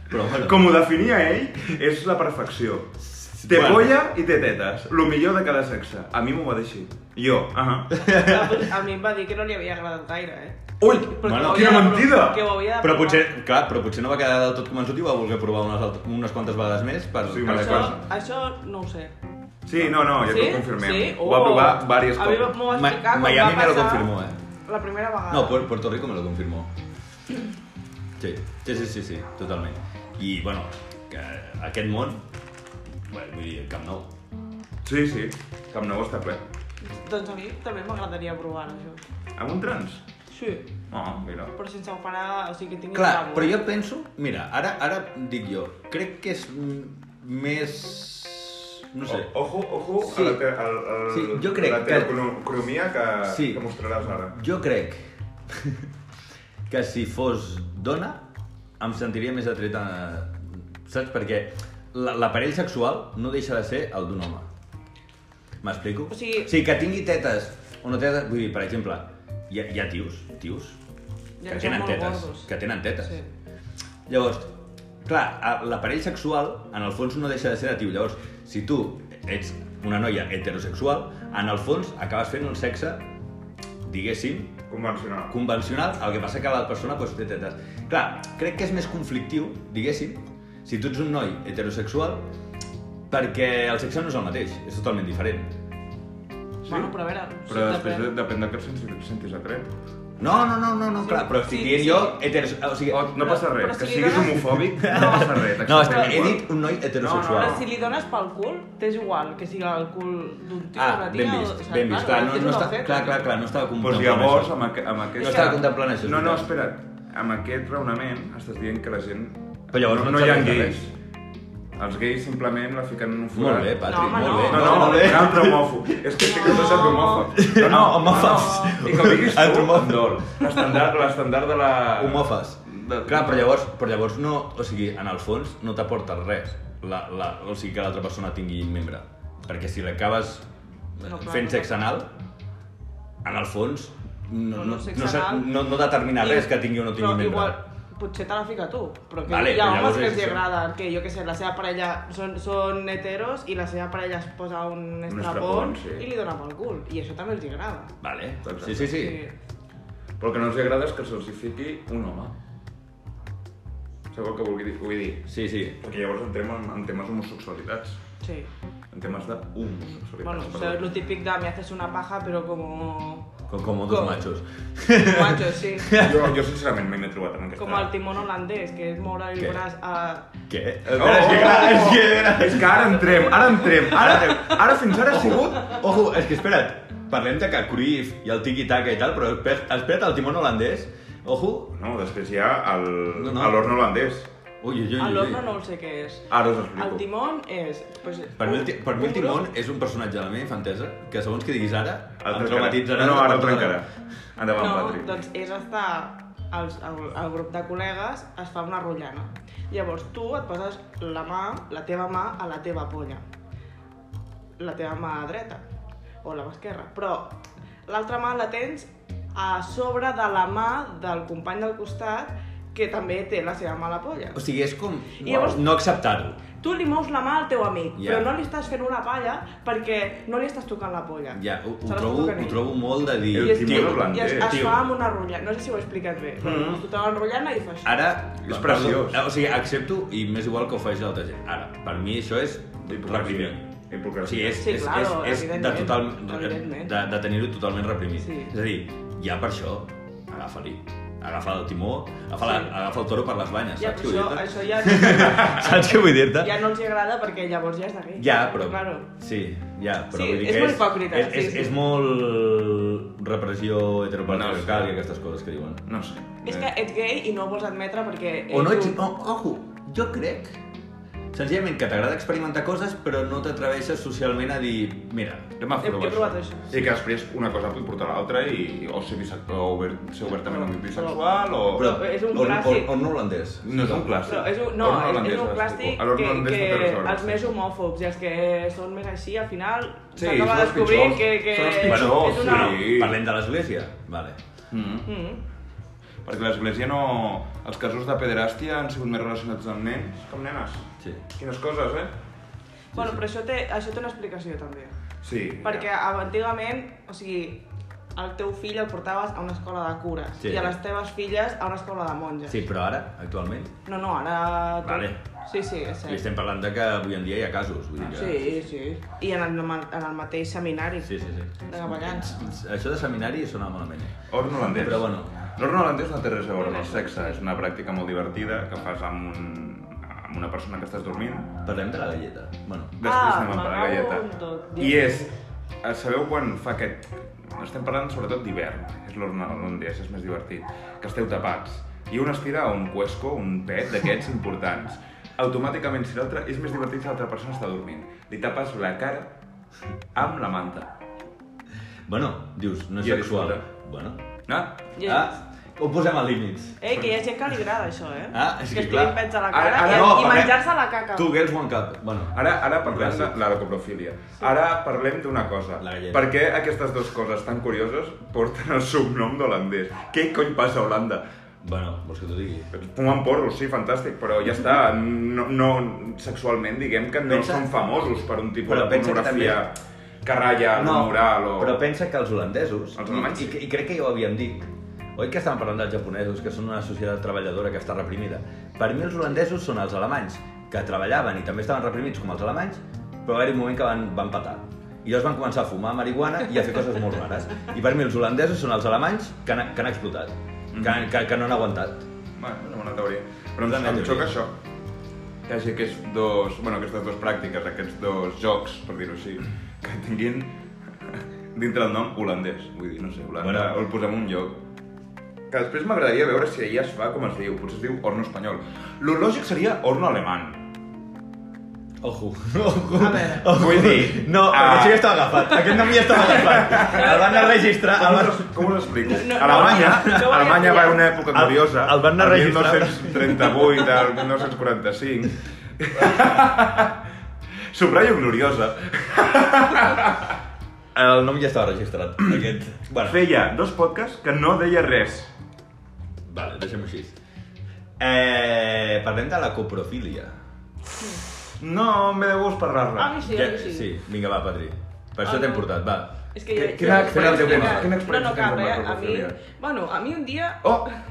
S1: Però bueno,
S2: Com ho definia ell, és la perfecció. Té
S1: Bueno.
S2: polla i té tetes. Lo millor de cada sexe. A mi m'ho va deixar. Jo. Ah
S3: A mi em va dir que no li havia agradat gaire, eh?
S2: Ui!
S3: que
S1: Bueno,
S3: ho
S2: quina
S3: havia de-
S2: mentida!
S3: Que ho havia de
S1: però
S3: provar.
S1: potser, clar, però potser no va quedar del tot convençut i va voler provar unes, alt- unes quantes vegades més per...
S2: Sí, una
S3: Això,
S2: cosa.
S3: això no ho sé.
S2: Sí, no, no, ja
S3: sí?
S2: t'ho confirmem.
S3: Sí?
S2: Ho
S3: Oh.
S2: va provar diverses
S3: a mi
S2: coses.
S3: m'ho va
S1: Ma-
S3: explicar quan
S1: Miami
S3: va
S1: me lo
S3: passar
S1: confirmó, eh?
S3: La primera vegada.
S1: No, Pu- Puerto Rico me lo confirmó. Sí, sí, sí, sí, sí totalment. I, bueno, eh, que aquest món, bueno, vull dir, el Camp Nou.
S2: Sí, sí. Camp Nou està ple.
S3: Doncs a mi també m'agradaria provar això.
S2: Amb un trans?
S3: Sí.
S2: Oh, mira.
S3: Però sense operar, o sigui que tingui
S1: Clar,
S3: rabo.
S1: però jo penso, mira, ara ara dic jo, crec que és mm, més... No sé.
S2: O- Ojo, ojo
S1: Sí.
S2: a la, te, al, al,
S1: Sí, jo crec
S2: la
S1: que-
S2: telecronomia que,
S1: Sí.
S2: que mostraràs ara.
S1: Jo crec que si fos dona em sentiria més atreta, saps? Perquè la- l'aparell sexual no deixa de ser el d'un home. M'explico?
S3: O sigui-
S1: sí, que tingui tetes o no tetes, vull dir, per exemple, hi ha, hi ha tios, tios,
S3: Ja
S1: que
S3: són
S1: tenen
S3: molt
S1: tetes,
S3: gordos.
S1: que tenen tetes.
S3: Sí.
S1: Llavors, clar, a- l'aparell sexual en el fons no deixa de ser natiu. Llavors, si tu ets una noia heterosexual, en el fons acabes fent un sexe, diguéssim,
S2: Convencional.
S1: convencional, el que passa que la persona pues, té tetes. Clar, crec que és més conflictiu, diguéssim, si tu ets un noi heterosexual, perquè el sexe no és el mateix, és totalment diferent.
S2: Sí?
S3: Bueno, però a veure...
S2: Però
S3: sí,
S2: després
S3: depèn.
S2: depèn de què sentis, sentis atret.
S1: No, no, no, no, no clar, però estic
S3: Sí,
S1: dient
S3: sí.
S1: jo heterosexual, o sigui...
S2: O, Oh, no passa res,
S3: però
S2: que
S3: si li
S2: siguis
S3: dones-
S2: homofòbic, no passa res.
S3: Oh,
S1: No, és que
S2: t'acceptem
S1: he
S2: igual.
S1: dit un noi heterosexual.
S2: No,
S3: Però si li dones pel cul, t'és igual que sigui el cul d'un tio
S1: Ah,
S3: o una tia.
S1: ben
S3: o- o
S1: vist,
S3: sigui,
S1: ben vist, clar, no,
S3: és
S1: no
S3: una
S1: està,
S3: oferta.
S1: clar, clar, clar, no estava
S2: Doncs
S1: contemplant
S2: llavors,
S1: això.
S2: amb, aqu amb aquest...
S1: No estava contemplant això, és
S2: No, no,
S1: veritat.
S2: espera't. Amb aquest raonament estàs dient que la gent...
S1: Però llavors
S2: no,
S1: no
S2: no hi ha
S1: ens agrada
S2: gais. Els gais simplement la fiquen en un forat.
S1: Molt bé, Patri,
S3: No, home,
S1: molt
S3: no.
S1: bé.
S2: No, no,
S1: molt
S2: no
S1: bé.
S2: un altre homòfob. És que estic no. sap homòfob. No, no,
S1: No, homòfobs.
S2: no. I que ho diguis tu,
S1: Antropòfobs.
S2: amb dol. L'estandard l'estandard de la...
S1: Homòfas.
S2: De-
S1: Clar, però llavors, però llavors no, o sigui, en el fons no t'aporta res, la, la, o sigui, que l'altra persona tingui membre. Perquè si l'acabes
S3: No, clar,
S1: fent
S3: no.
S1: sexe anal, en el fons no,
S3: No, no,
S1: no,
S3: sexe
S1: no, se-
S3: anal.
S1: no, no determina res que tingui o no tingui
S3: però
S1: membre.
S3: Igual, potser te la fica tu, però que
S1: Vale,
S3: hi ha
S1: però
S3: homes
S1: llavors
S3: que
S1: és
S3: els hi
S1: això.
S3: agrada, que jo què sé, la seva parella són, són heteros i la seva parella es posa un
S2: estrapón,
S3: estrapón
S2: sí.
S3: i li dona pel cul, i això també els hi agrada.
S1: Vale,
S2: Exacte.
S1: sí, sí, sí.
S3: Sí.
S2: Però el que no els hi agrada és que se'ls hi fiqui un home. Sabeu el que vulgui dir? Vull dir,
S1: Sí, sí.
S2: perquè llavors entrem en, en temes homosexualitats,
S3: Sí.
S2: en temes d'homosexualitats.
S3: Bueno, o sea,
S2: perdó.
S3: lo típico de me haces una paja, pero como...
S1: Com, com dos
S3: Com?
S1: machos.
S3: Macho, sí.
S2: Jo, jo sincerament mai m'he trobat en aquesta...
S3: Com el timón holandès, que és moure el
S1: Què?
S3: braç a...
S1: Què?
S2: Oh!
S1: Espera, és que clar, és que... Espera.
S2: És que ara entrem, ara entrem, ara, entrem. ara fins
S3: Oh!
S2: ara ha sigut...
S1: Ojo, és que espera't, parlem de que Cruyff i el tiki-taka i tal, però espera't, espera't el timón holandès, ojo...
S2: No, després hi ha el...
S1: No,
S2: No,
S1: no.
S2: no. l'horn holandès.
S1: Ui, ui, ui,
S3: A
S1: ui.
S3: l'horno no ho sé què és.
S2: Ara us
S3: El
S2: explico.
S3: timón és... Pues,
S1: Per mi, el, ti- per mi el
S3: un gros-
S1: Timon és un personatge de la meva infantesa que segons que diguis ara
S2: El
S1: em
S2: trencarà.
S1: traumatitzarà.
S2: No, no, ara el
S1: per tota la-
S2: trencarà. Endavant,
S3: No,
S2: Patri.
S3: doncs és estar els, el, el grup de col·legues es fa una rotllana. Llavors tu et poses la mà, la teva mà a la teva polla. La teva mà dreta o la mà esquerra, però l'altra mà la tens a sobre de la mà del company del costat que també té la seva mà a la polla.
S1: O sigui, és com
S3: I llavors-
S1: no acceptar-ho.
S3: Tu li mous la mà al teu amic,
S1: Ja.
S3: però no li estàs fent una palla perquè no li estàs tocant la polla.
S1: Ja, ho,
S3: Se
S1: ho,
S3: l'estàs
S1: trobo,
S3: tocant
S1: ho
S3: ell.
S1: trobo molt de dir...
S2: El eh,
S3: I es,
S2: timó
S1: "Tio,
S2: holandès.
S3: i es, es
S1: tio".
S3: fa amb una rotllana. No sé si ho he explicat bé, però mm. tu te l'enrotllana i fa això.
S1: Ara...
S2: És
S1: perdó, eh,
S2: preciós.
S1: O sigui, accepto i m'és igual que ho faci l'altra gent. Ara, per mi això és reprimir.
S2: Hipocresia.
S1: O sigui, és,
S3: Sí,
S1: és,
S3: claro,
S1: és, és de,
S3: evidentment,
S1: total,
S3: evidentment.
S1: de, de tenir-ho totalment reprimit.
S3: Sí.
S1: És a dir, ja per això, agafa-li. Agafa el timó, agafa, la,
S3: Sí.
S1: agafa el toro per les banyes,
S3: ja,
S1: saps què
S3: però
S1: vull dir-te?
S3: això, això ja,
S1: Saps què vull dir-te?
S3: ja no els hi agrada perquè llavors ja és de gay.
S1: Ja, però...
S3: Eh, Claro.
S1: Sí, ja, però
S3: Sí,
S1: vull dir
S3: és
S1: que
S3: molt hipòcrita,
S1: És, és,
S3: sí, sí.
S1: és molt repressió heteropatriarcal
S2: No, sí.
S1: i aquestes coses que diuen.
S2: No sé.
S3: És que ets gay i no ho vols admetre perquè...
S1: O no
S3: ets
S1: ets...
S3: un-
S1: O, ojo, jo crec senzillament que t'agrada experimentar coses però no t'atreveixes socialment a dir mira, anem a
S3: He,
S1: provar
S3: he provat això.
S2: I que després una cosa pot portar a l'altra i o ser, bisexual, o obert, ser obertament
S3: Però-
S2: bisexual o...
S1: Però,
S3: és un
S1: o, o,
S3: clàssic.
S1: o no holandès.
S2: No és un clàssic.
S3: Però és un, no,
S2: L'horn
S3: és,
S2: holandès,
S3: és un
S2: ara
S3: plàstic
S2: explico. A l'horn
S3: que,
S2: holandès no té
S3: que
S2: res a veure.
S3: els més homòfobs i els que són més així, al final
S2: Sí,
S3: s'acaba
S2: són els pitjors.
S3: descobrint que, que
S2: Són els
S3: és
S2: pitjors,
S3: una...
S2: sí.
S1: Parlem de l'església? Vale.
S2: Mm.
S3: Mm.
S2: Perquè l'església no... Els casos de pederàstia han sigut més relacionats amb nens que amb nenes.
S1: Sí.
S2: Quines coses, eh?
S3: Bueno, però això té, això té una explicació també.
S2: Sí.
S3: Perquè ab- antigament, o sigui, el teu fill el portaves a una escola de cures
S1: Sí.
S3: i a les teves filles a una escola de monges.
S1: Sí, però ara, actualment,
S3: No, no, ara... tu-
S1: Vale.
S3: Sí, sí, és
S1: li
S3: cert.
S1: estem parlant de que avui en dia hi ha casos. Vull dir que...
S3: Sí, sí. I en el, ma- en el mateix seminari
S1: Sí, sí, sí.
S3: de Gavallans.
S1: Això de seminari sona malament. eh?
S2: Horn holandès.
S1: Però bueno.
S2: L'horn holandès no té res a veure amb el sexe, és una pràctica molt divertida que fas amb, un, amb una persona que estàs dormint.
S1: Parlem de la galleta. Bueno,
S2: Després
S3: Ah,
S2: anem a per la
S3: m'acabo amb
S2: galleta.
S3: tot.
S2: I és... eh, Sabeu quan fa aquest... Estem parlant sobretot d'hivern, és l'horn holandès, és més divertit, que esteu tapats. I un es tira un cuesco, un pet d'aquests importants. Automàticament, si l'altre... És més divertit si l'altra persona està dormint. Li tapes la cara amb la manta.
S1: bueno dius, no és
S2: Ja
S1: sexual.
S2: disfruta.
S1: Bueno.
S2: No?
S3: I-
S1: Ah, ho posem a límits.
S3: Ei, que hi ha gent que li agrada això, eh?
S1: Ah, és
S3: que,
S1: que
S3: es
S1: clar.
S3: tirin pets a la
S2: Ara-
S3: cara
S2: ara
S3: i,
S1: no,
S3: i
S1: parlem.
S3: menjar-se la caca.
S1: Two girls, one cup. Bueno,
S2: Ara, ara parlem de la coprofília. Ara parlem d'una cosa.
S1: La galleta.
S2: Per què aquestes dues coses tan curioses porten el subnom d'holandès? Què cony passa a Holanda?
S1: bueno, vols que t'ho digui?
S2: Fumen porros, sí, fantàstic, però ja està. No, no sexualment, diguem que no
S1: Pensa-
S2: són famosos per un tipus
S1: Però
S2: de
S1: pensa que
S2: pornografia que ratlla no, moral o...
S1: però pensa que els holandesos,
S2: Els alemanys
S1: i,
S2: sí.
S1: i, i crec que ja ho havíem dit, oi que estàvem parlant dels japonesos, que són una societat treballadora que està reprimida? Per mi els holandesos són els alemanys, que treballaven i també estaven reprimits com els alemanys, però va haver un moment que van, van patar. I llavors van començar a fumar marihuana i a fer coses molt rares. I per mi els holandesos són els alemanys que han, que han explotat, que, han- que, que no han aguantat.
S2: Bueno, una bona teoria. Però em,
S1: Una
S2: em
S1: teoria.
S2: xoca això. Que hi hagi aquests dos, bueno, aquestes dues pràctiques, aquests dos jocs, per dir-ho així, que tinguin dintre el nom holandès. Vull dir, no sé, Holanda,
S1: Bueno.
S2: bueno. el posem un lloc. Que després m'agradaria veure si allà es fa com es diu. Potser es diu horno espanyol. Lo lògic seria horno alemany.
S1: Ojo, ojo,
S3: A veure.
S1: ojo.
S2: Vull dir,
S1: No,
S2: ah.
S1: ah. això ja estava agafat, aquest nom ja estava agafat. El van anar a registrar,
S2: Com
S1: el
S2: us,
S1: van...
S2: com us explico?
S3: Ah, No, no,
S2: Alemanya,
S3: no, no ho
S2: Alemanya
S3: havia
S2: va
S3: pillat.
S2: una època
S1: El-
S2: curiosa.
S1: el van anar
S2: del
S1: registrar.
S2: 1938 al 1945. Subratllo gloriosa.
S1: El nom ja estava registrat, aquest... Bueno,
S2: Feia dos podcasts que no deia res.
S1: Vale, deixem-ho així. Eh, parlem de la coprofília.
S2: No, em ve de gust
S3: A
S2: parlar-ne.
S3: mi sí, a
S1: Ja-
S3: mi sí.
S1: sí. Vinga, va, Patri. Per
S3: Ah,
S1: això t'hem
S3: no.
S1: portat, va.
S3: És que jo...
S1: Quina- quina experiència
S3: no,
S1: tens- quina experiència
S3: no, no, cap,
S1: tens amb la
S3: eh? A mi...
S1: necrofilia?
S3: Bueno, a mi un dia...
S1: Oh!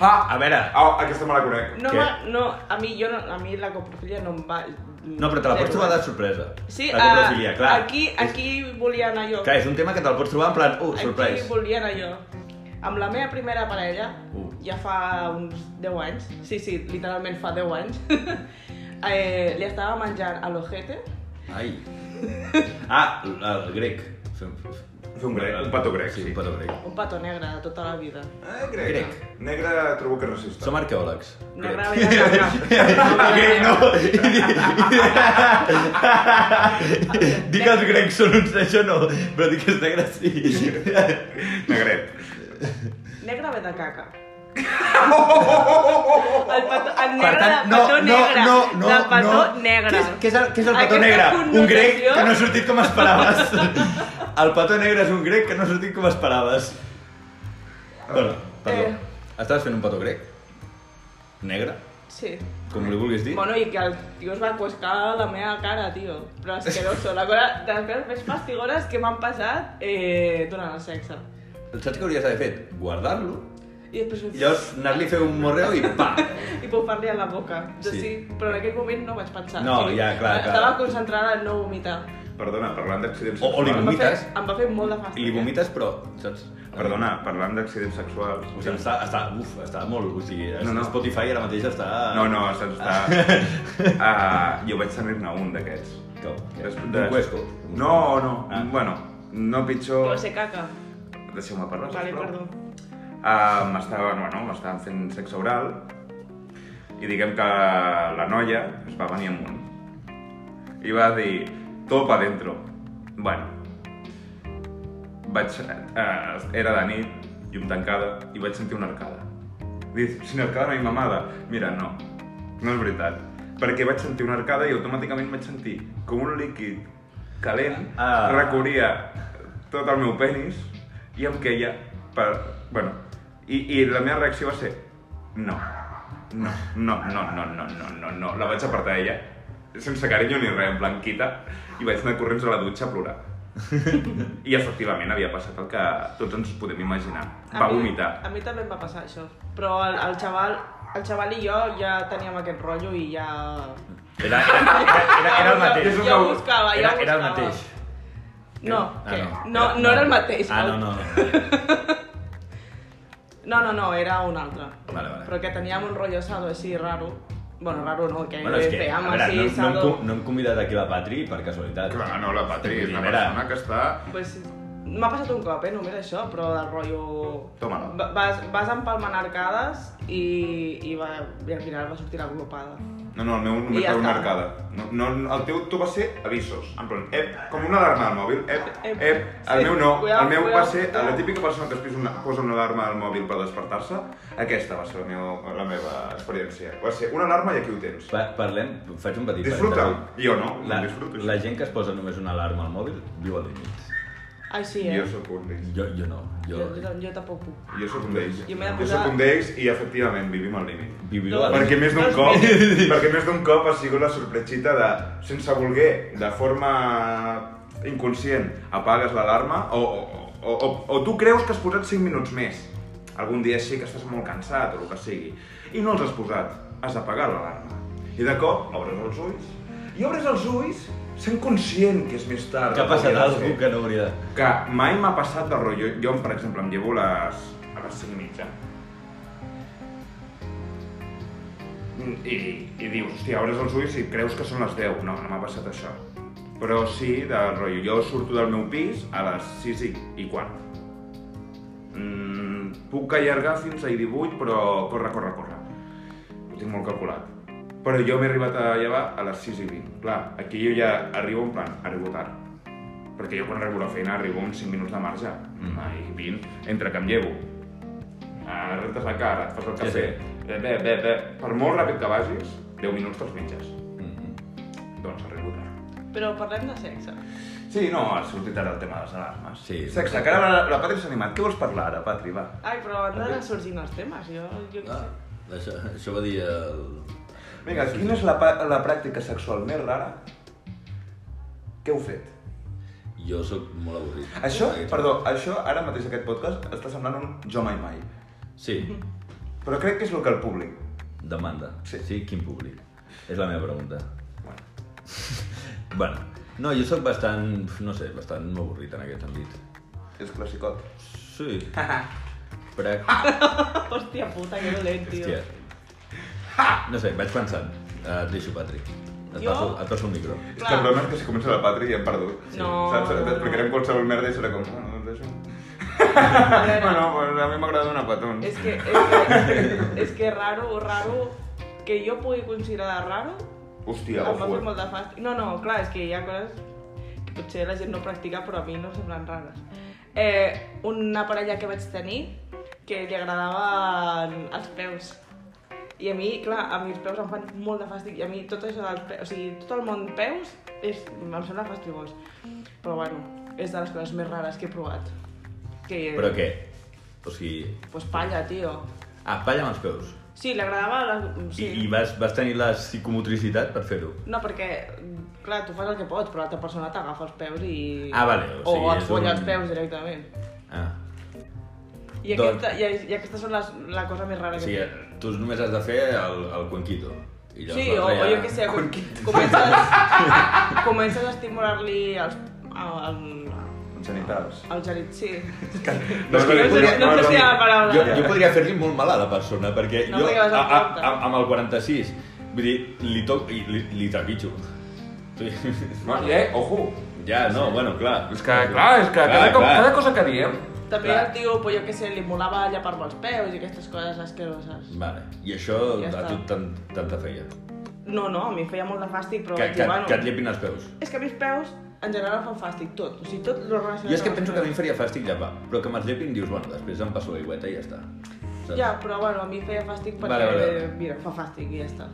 S1: Ah, a veure,
S2: Ah, aquesta me la conec.
S3: No,
S5: Què?
S3: va, no, a mi, jo no, a mi la coprofilia no em va...
S1: no, però te la pots
S3: Zero.
S1: trobar de sorpresa.
S3: Sí,
S1: la coprofilia,
S3: a,
S1: clar.
S3: aquí, aquí volia anar jo.
S1: Clar, és un tema que te'l pots trobar en plan, uh, sorprès.
S3: Aquí volia anar jo. Amb la meva primera parella,
S1: Uh.
S3: ja fa uns 10 anys, sí, sí, literalment fa 10 anys, eh, li estava menjant a l'ojete,
S1: Ai. Ah, el, el grec. Fem,
S2: Fer un grec, un petó grec, sí.
S1: un petó grec.
S3: un petó negre de tota la vida.
S2: Eh,
S1: Grec.
S2: Negre trobo que és racista.
S1: Som arqueòlegs.
S3: Negre
S1: Grec.
S3: ve de cap.
S1: Grec, no. Dic que els grecs són uns... Això no, però dic que els negres sí.
S2: Negret.
S3: Negre ve de caca. El, petó, el negre
S1: Per tant,
S3: del
S1: no,
S3: petó
S1: no,
S3: negre.
S1: no, no,
S3: del petó
S1: no.
S3: negre.
S1: Què és, què és el, què és el petó
S3: Aquesta
S1: negre? Un grec
S3: connotació-
S1: que no ha sortit com esperaves. El petó negre és un grec que no ha sortit com esperaves. Bueno, perdó.
S3: Eh.
S1: Estaves fent un petó grec? Negre?
S3: Sí.
S1: Com li vulguis dir?
S3: Bueno, i que el tio es va cuescar la meva cara, tio. Però asqueroso. La cosa de les coses més fastigores que m'han passat eh, durant el sexe.
S1: Saps què hauries d'haver fet? Guardar-lo
S3: I després...
S1: i llavors anar-li a fer un morreo i pa!
S3: I bufar-li a la boca. Jo
S1: Sí.
S3: sí. Però en aquell moment no vaig pensar.
S1: No,
S3: o sigui,
S1: ja, clar, clar.
S3: Estava concentrada en no vomitar.
S2: Perdona, parlant d'accidents
S1: O- o li
S3: Em
S2: sexuals...
S3: va, fer,
S1: Vomites?
S3: em va fer molt de fàstic.
S1: I
S3: eh.
S1: li vomites però, saps?
S2: Perdona, parlant d'accidents sexuals...
S1: O sigui, està, està, uf, està molt... O sigui,
S2: No,
S1: no,
S2: no.
S1: no. Spotify ara mateix està...
S2: No, no, saps? Està... Ah, jo vaig tenir-ne un d'aquests.
S1: Que, que,
S2: Des-
S1: un
S2: des-
S1: cuesco.
S2: No, no.
S1: Ah.
S2: Bueno, no pitjor...
S3: Però ser caca.
S2: Deixeu-me parlar,
S3: Vale,
S2: sisplau.
S3: perdó.
S2: Uh, m'estaven, bueno, m'estaven fent sexe oral i diguem que la noia es va venir amunt i va dir topa dentro bueno vaig, uh, era de nit llum tancada i vaig sentir una arcada dic, si arcada no hi mamada mira, no, no és veritat perquè vaig sentir una arcada i automàticament vaig sentir com un líquid calent
S1: Ah.
S2: recorria tot el meu penis i em queia per... Bueno, i, i la meva reacció va ser no, no, no, no, no, no, no, no, no. La vaig apartar d'ella, sense carinyo ni res, en blanquita, i vaig anar corrents a la dutxa a plorar. I efectivament havia passat el que tots ens podem imaginar.
S3: A
S2: Va
S3: mi-
S2: vomitar.
S3: A mi també em va passar això. Però el, el xaval... El xaval i jo ja teníem aquest rotllo i ja...
S1: Era, era, era, era, era el mateix.
S3: Jo, jo buscava, jo
S1: Era,
S3: buscava.
S1: era el mateix.
S3: No,
S1: Ah,
S3: què? no, no, era el mateix.
S1: Ah, no,
S3: el-
S1: no. no.
S3: No, no, no, era un altre.
S1: Vale, vale.
S3: Però que teníem un rotllo sado així raro. Bueno, raro no, que
S1: Bueno, és que, a
S3: fèiem
S1: veure,
S3: així
S1: no, no, hem,
S3: sado.
S1: co- no hem convidat aquí la Patri per casualitat.
S2: Clar, no, la Patri és una
S1: Primera.
S2: persona que està...
S3: Pues, M'ha passat un cop, eh, només això, però del rotllo...
S2: Toma-la.
S3: Va- Vas, vas empalmant arcades i, i, va, i al final va sortir la glopada.
S2: No, no, el meu només
S3: I ja
S2: era una
S3: està.
S2: arcada. No, no, el teu tu va ser avisos, en plan, ep, com una alarma del mòbil, ep, ep.
S3: Ep.
S2: El
S3: Sí.
S2: meu no, el
S3: Cuidao,
S2: meu va
S3: cuidao,
S2: ser
S3: cuidao.
S2: la típica persona que es posa una, posa una alarma del mòbil per despertar-se. Aquesta va ser la meva, la meva experiència. Va ser una alarma i aquí ho tens.
S1: Pa parlem, faig un petit...
S2: Disfruta-ho.
S1: parèntesi.
S2: Jo no,
S1: La,
S2: no disfruto.
S1: la gent que es posa només una alarma al mòbil viu al límit.
S3: Ai, sí, eh?
S2: Jo sóc un d'ells.
S1: Jo, jo no.
S3: Jo,
S1: Jo,
S3: jo, tam- jo tampoc puc.
S2: Jo sóc un d'ells.
S3: Jo m'he de
S2: Jo
S3: posar-
S2: sóc un d'ells i efectivament vivim al límit.
S1: viviré
S3: No,
S1: al
S2: Perquè
S1: límit.
S2: més d'un
S3: Doncs
S2: cop, perquè més d'un cop ha sigut la sorprechita de, sense voler, de forma inconscient, apagues l'alarma o, o, o, o, o tu creus que has posat 5 minuts més. Algun dia sí que estàs molt cansat o el que sigui. I no els has posat, has apagat l'alarma. I de cop obres els ulls i obres els ulls sent conscient que és més tard.
S1: Que ha passat
S2: Hauria de
S1: algú
S2: ser
S1: que no hauria de...
S2: que mai m'ha passat de rotllo. Jo, per exemple, em llevo les, a les 5 i mitja. Mm, I, I dius, hòstia, obres els ulls i creus que són les 10. No, no m'ha passat això. Però sí, de rotllo. Jo surto del meu pis a les 6 i, i quart. Mm, puc allargar fins a 18, però corre, corre, corre. Ho tinc molt calculat. Però jo m'he arribat a llevar a les 6 i 20. Clar, aquí jo ja arribo en plan, arribo tard perquè jo quan arribo a la feina arribo amb 5 minuts de marge, mm. i 20, entre que em llevo, eh, rentes la cara, et fas el
S1: Sí,
S2: cafè, bé, bé, bé, bé, per molt ràpid que vagis, 10 minuts te'ls menges.
S1: Mhm.
S2: Doncs arribo tard.
S3: Però parlem de sexe.
S2: Sí, no, ha sortit ara el tema de les alarmes.
S1: Sí.
S2: Sexe, que ara la, la Patri s'ha animat. Què vols parlar ara, Patri, va?
S3: Ai, però han d'anar sorgint els temes, jo... jo què
S1: Ah,
S3: sé.
S1: això, això va dir el...
S2: Vinga, quina és la, pa- la pràctica sexual més rara que heu fet?
S1: Jo sóc molt avorrit.
S2: Això,
S1: Aquests-
S2: perdó, això ara mateix aquest podcast està semblant un jo mai mai.
S1: Sí,
S2: Però crec que és el que el públic.
S1: demanda.
S2: Sí.
S1: Sí. sí, quin públic? És la meva pregunta.
S2: Bueno.
S1: bueno, no, jo sóc bastant, no sé, bastant avorrit en aquest sentit.
S2: És classicot.
S1: Sí. Però,
S3: Hòstia puta, que dolent, tio.
S1: hòstia. No sé, vaig pensant. Eh, Et deixo, Patrick. Et
S3: Jo?
S1: passo, et passo un micro.
S2: És que
S3: Clar.
S2: el problema és que si comença la pàtria ja hem perdut.
S3: No.
S2: Saps? Explicarem qualsevol merda i serà com... Bueno, doncs això... bueno, pues a mi m'agrada una patons.
S3: És que, és que, és que raro, raro, que jo pugui considerar raro,
S2: Hòstia,
S3: em va fer
S2: ojo.
S3: molt de fàstic. No, no, clar, és que hi ha coses que potser la gent no practica, però a mi no em semblen rares. Eh, una parella que vaig tenir que li agradaven els peus. I a mi, clar, a mi els peus em fan molt de fàstic. I a mi tot això dels peus, o sigui, tot el món peus és, em sembla fastigós. Però bueno, és de les coses més rares que he provat. Que,
S1: Però què? O sigui,
S3: Pues palla, tio.
S1: ah, palla amb els peus.
S3: Sí, li agradava... La...
S1: Sí.
S3: Sí.
S1: I, I vas, vas tenir la psicomotricitat per fer-ho.
S3: No, perquè, clar, tu fas el que pots, però l'altra persona t'agafa els peus i...
S1: Ah, vale, o
S3: O,
S1: sigui,
S3: et
S1: és
S3: folla
S1: un-
S3: els peus directament.
S1: Ah.
S3: I,
S1: Doncs-
S3: aquesta, i, i aquesta són les, la cosa més rara
S1: O
S3: que
S1: sigui,
S3: sí,
S1: eh, tu només has de fer el, el cuenquito. I
S3: Sí, o, o jo què sé, com- comences, comences a estimular-li els, el,
S2: eh, Genitals.
S3: el gerit, sí.
S2: No,
S3: que no sé- no sé si hi ha la paraula.
S1: Jo, jo podria fer-li molt mal a la persona, perquè
S3: No
S1: jo,
S3: sé què vas
S1: a,
S3: a eh.
S1: a,
S3: compte.
S1: a, amb el 46, vull dir, li toc i li, li trepitjo. Sí.
S6: No, eh, ojo.
S1: Ja, no, bueno, clar.
S6: És que, clar, és que cada, cop, cada cosa que diem...
S3: També
S1: Clar.
S3: el tio, pues, jo què sé, li molava allà per els peus i aquestes coses asqueroses.
S1: Vale, i això
S3: Ja
S1: ja a
S3: està.
S1: tu tant, tant te feia.
S3: No, no, a mi em feia molt de fàstic, però...
S1: Que,
S3: vaig dir,
S1: que,
S3: bueno,
S1: que et llepin els peus.
S3: És que a mi els peus, en general, em fan fàstic tot. O sigui, tot lo relacionat...
S1: Jo és que
S3: amb els
S1: penso que a mi
S3: peus.
S1: em faria fàstic llepar, però que me'ls llepin dius, bueno, després em passo l'aigüeta i ja està. Saps?
S3: Ja, però bueno, a mi em feia fàstic perquè,
S1: Doncs Vale,
S3: vale,
S1: vale.
S3: vale. mira, fa fàstic i ja està.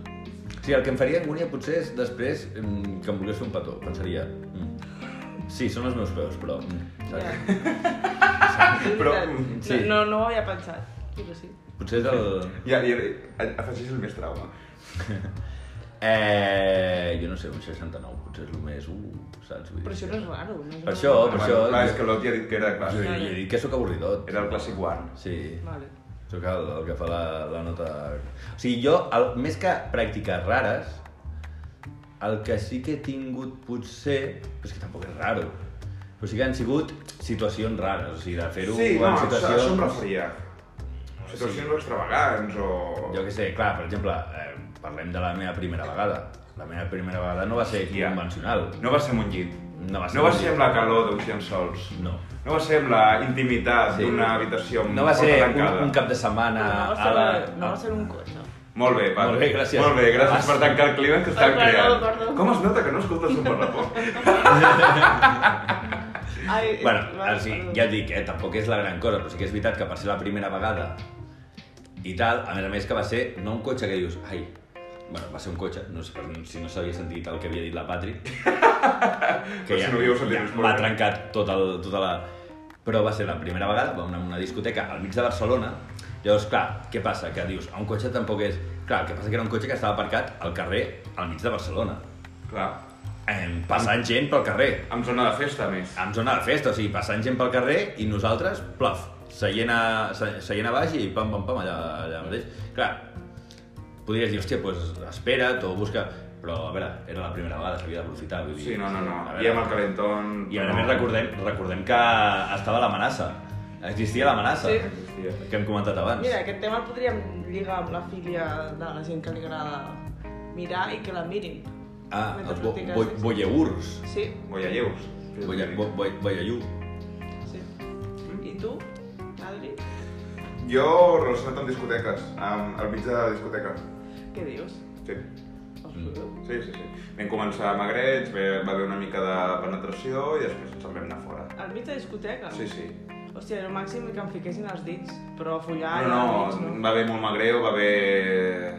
S1: Sí, el que em faria angúnia potser és després mm, que em volgués fer un petó. Pensaria... Mm. Sí, són els meus peus, però... Mm,
S3: Ja.
S1: saps?
S2: Però,
S1: sí.
S3: sí. no, no, no ho havia pensat, però sí.
S1: Potser és el...
S2: Ja, ja, afegeix el més trauma.
S1: Eh, jo no sé, un 69 potser és el més... Uh, saps? Vull dir,
S3: Però això no és raro. No és
S1: Per
S3: raro.
S1: això, per Oh,
S2: Bueno,
S1: això...
S2: clar, és que l'Ot ja ha dit que era clar.
S1: Jo, jo, he dit que sóc avorridot.
S2: Era el clàssic one.
S1: Sí.
S3: Vale.
S1: Sóc el, el que fa la, la nota... O sigui, jo, el, més que pràctiques rares, el que sí que he tingut potser... Però és que tampoc és raro. Però sí que han sigut situacions rares, o sigui, de fer-ho
S2: Sí, no,
S1: en
S2: això,
S1: situacions...
S2: això em referia. Situacions extravagants o...
S1: Jo què sé, clar, per exemple, eh, parlem de la meva primera vegada. La meva primera vegada no va ser
S2: Ja.
S1: convencional.
S2: No va ser amb un llit.
S1: No va ser
S2: no va
S1: un
S2: ser
S1: llit.
S2: amb la calor d'uns llençols.
S1: No.
S2: No va ser amb la intimitat
S1: Sí.
S2: d'una habitació amb
S1: No va
S2: porta
S1: ser un,
S2: tancada.
S1: un cap de setmana
S3: no, va
S1: a
S3: ser,
S1: la...
S3: la... no va ser un cotxe.
S2: Molt bé, Pat.
S1: Molt bé, gràcies.
S2: Molt bé, gràcies per tancar el clima que estàvem
S3: Perdó,
S2: creant.
S3: perdó.
S2: Com es nota que no escoltes un barrapó?
S3: Ai,
S1: Bueno,
S3: va,
S1: ara sí,
S3: perdó.
S1: ja et dic, eh, tampoc és la gran cosa, però sí que és veritat que per ser la primera vegada i tal, a més a més que va ser no un cotxe que dius, ai, bueno, va ser un cotxe, no sé per- si no s'havia sentit el que havia dit la Patri,
S2: Però si no havíeu sentit, és molt
S1: m'ha
S2: bé.
S1: trencat tot el, tota la... Però va ser la primera vegada, vam anar a una discoteca al mig de Barcelona, llavors, clar, què passa? Que dius, a un cotxe tampoc és... Clar, el que passa que era un cotxe que estava aparcat al carrer, al mig de Barcelona,
S2: Clar,
S1: eh, passant gent pel carrer
S2: amb zona de festa, a més.
S1: en zona de festa, o sigui, passant gent pel carrer i nosaltres, plaf, seient a, se- seient a baix i pam, pam, pam, allà, allà mateix. Clar, podries dir, hòstia, doncs espera't o busca... Però, a veure, era la primera vegada, s'havia d'aprofitar. vull dir,
S2: Sí, no, no, no.
S1: a
S2: I
S1: veure.
S2: amb el calentón...
S1: I a més recordem, recordem que estava l'amenaça. Existia l'amenaça,
S3: Sí.
S2: Existia.
S1: que hem comentat abans.
S3: Mira, aquest tema el podríem lligar amb la filia de la gent que li agrada mirar i que la mirin.
S1: Ah,
S3: mentre
S1: els bo,
S3: practiques
S1: bo,
S3: sexo.
S1: bolleurs.
S3: Sí,
S2: Boialleus.
S1: Bolla, bo, bo, bollallú.
S3: sí.
S1: Mm.
S3: I tu, Adri,
S2: Jo relacionat amb discoteques, amb el mig de la discoteca.
S3: què dius?
S2: Sí,
S3: Mm.
S2: sí, sí. sí. Vam començar a magrets, ve- va haver una mica de penetració i després ens en vam anar fora.
S3: Al mig de discoteca?
S2: Sí, sí.
S3: Hòstia, era el màxim que em fiquessin els dits, però follar...
S2: No,
S3: als
S2: no,
S3: dits,
S2: va haver molt magreu, va haver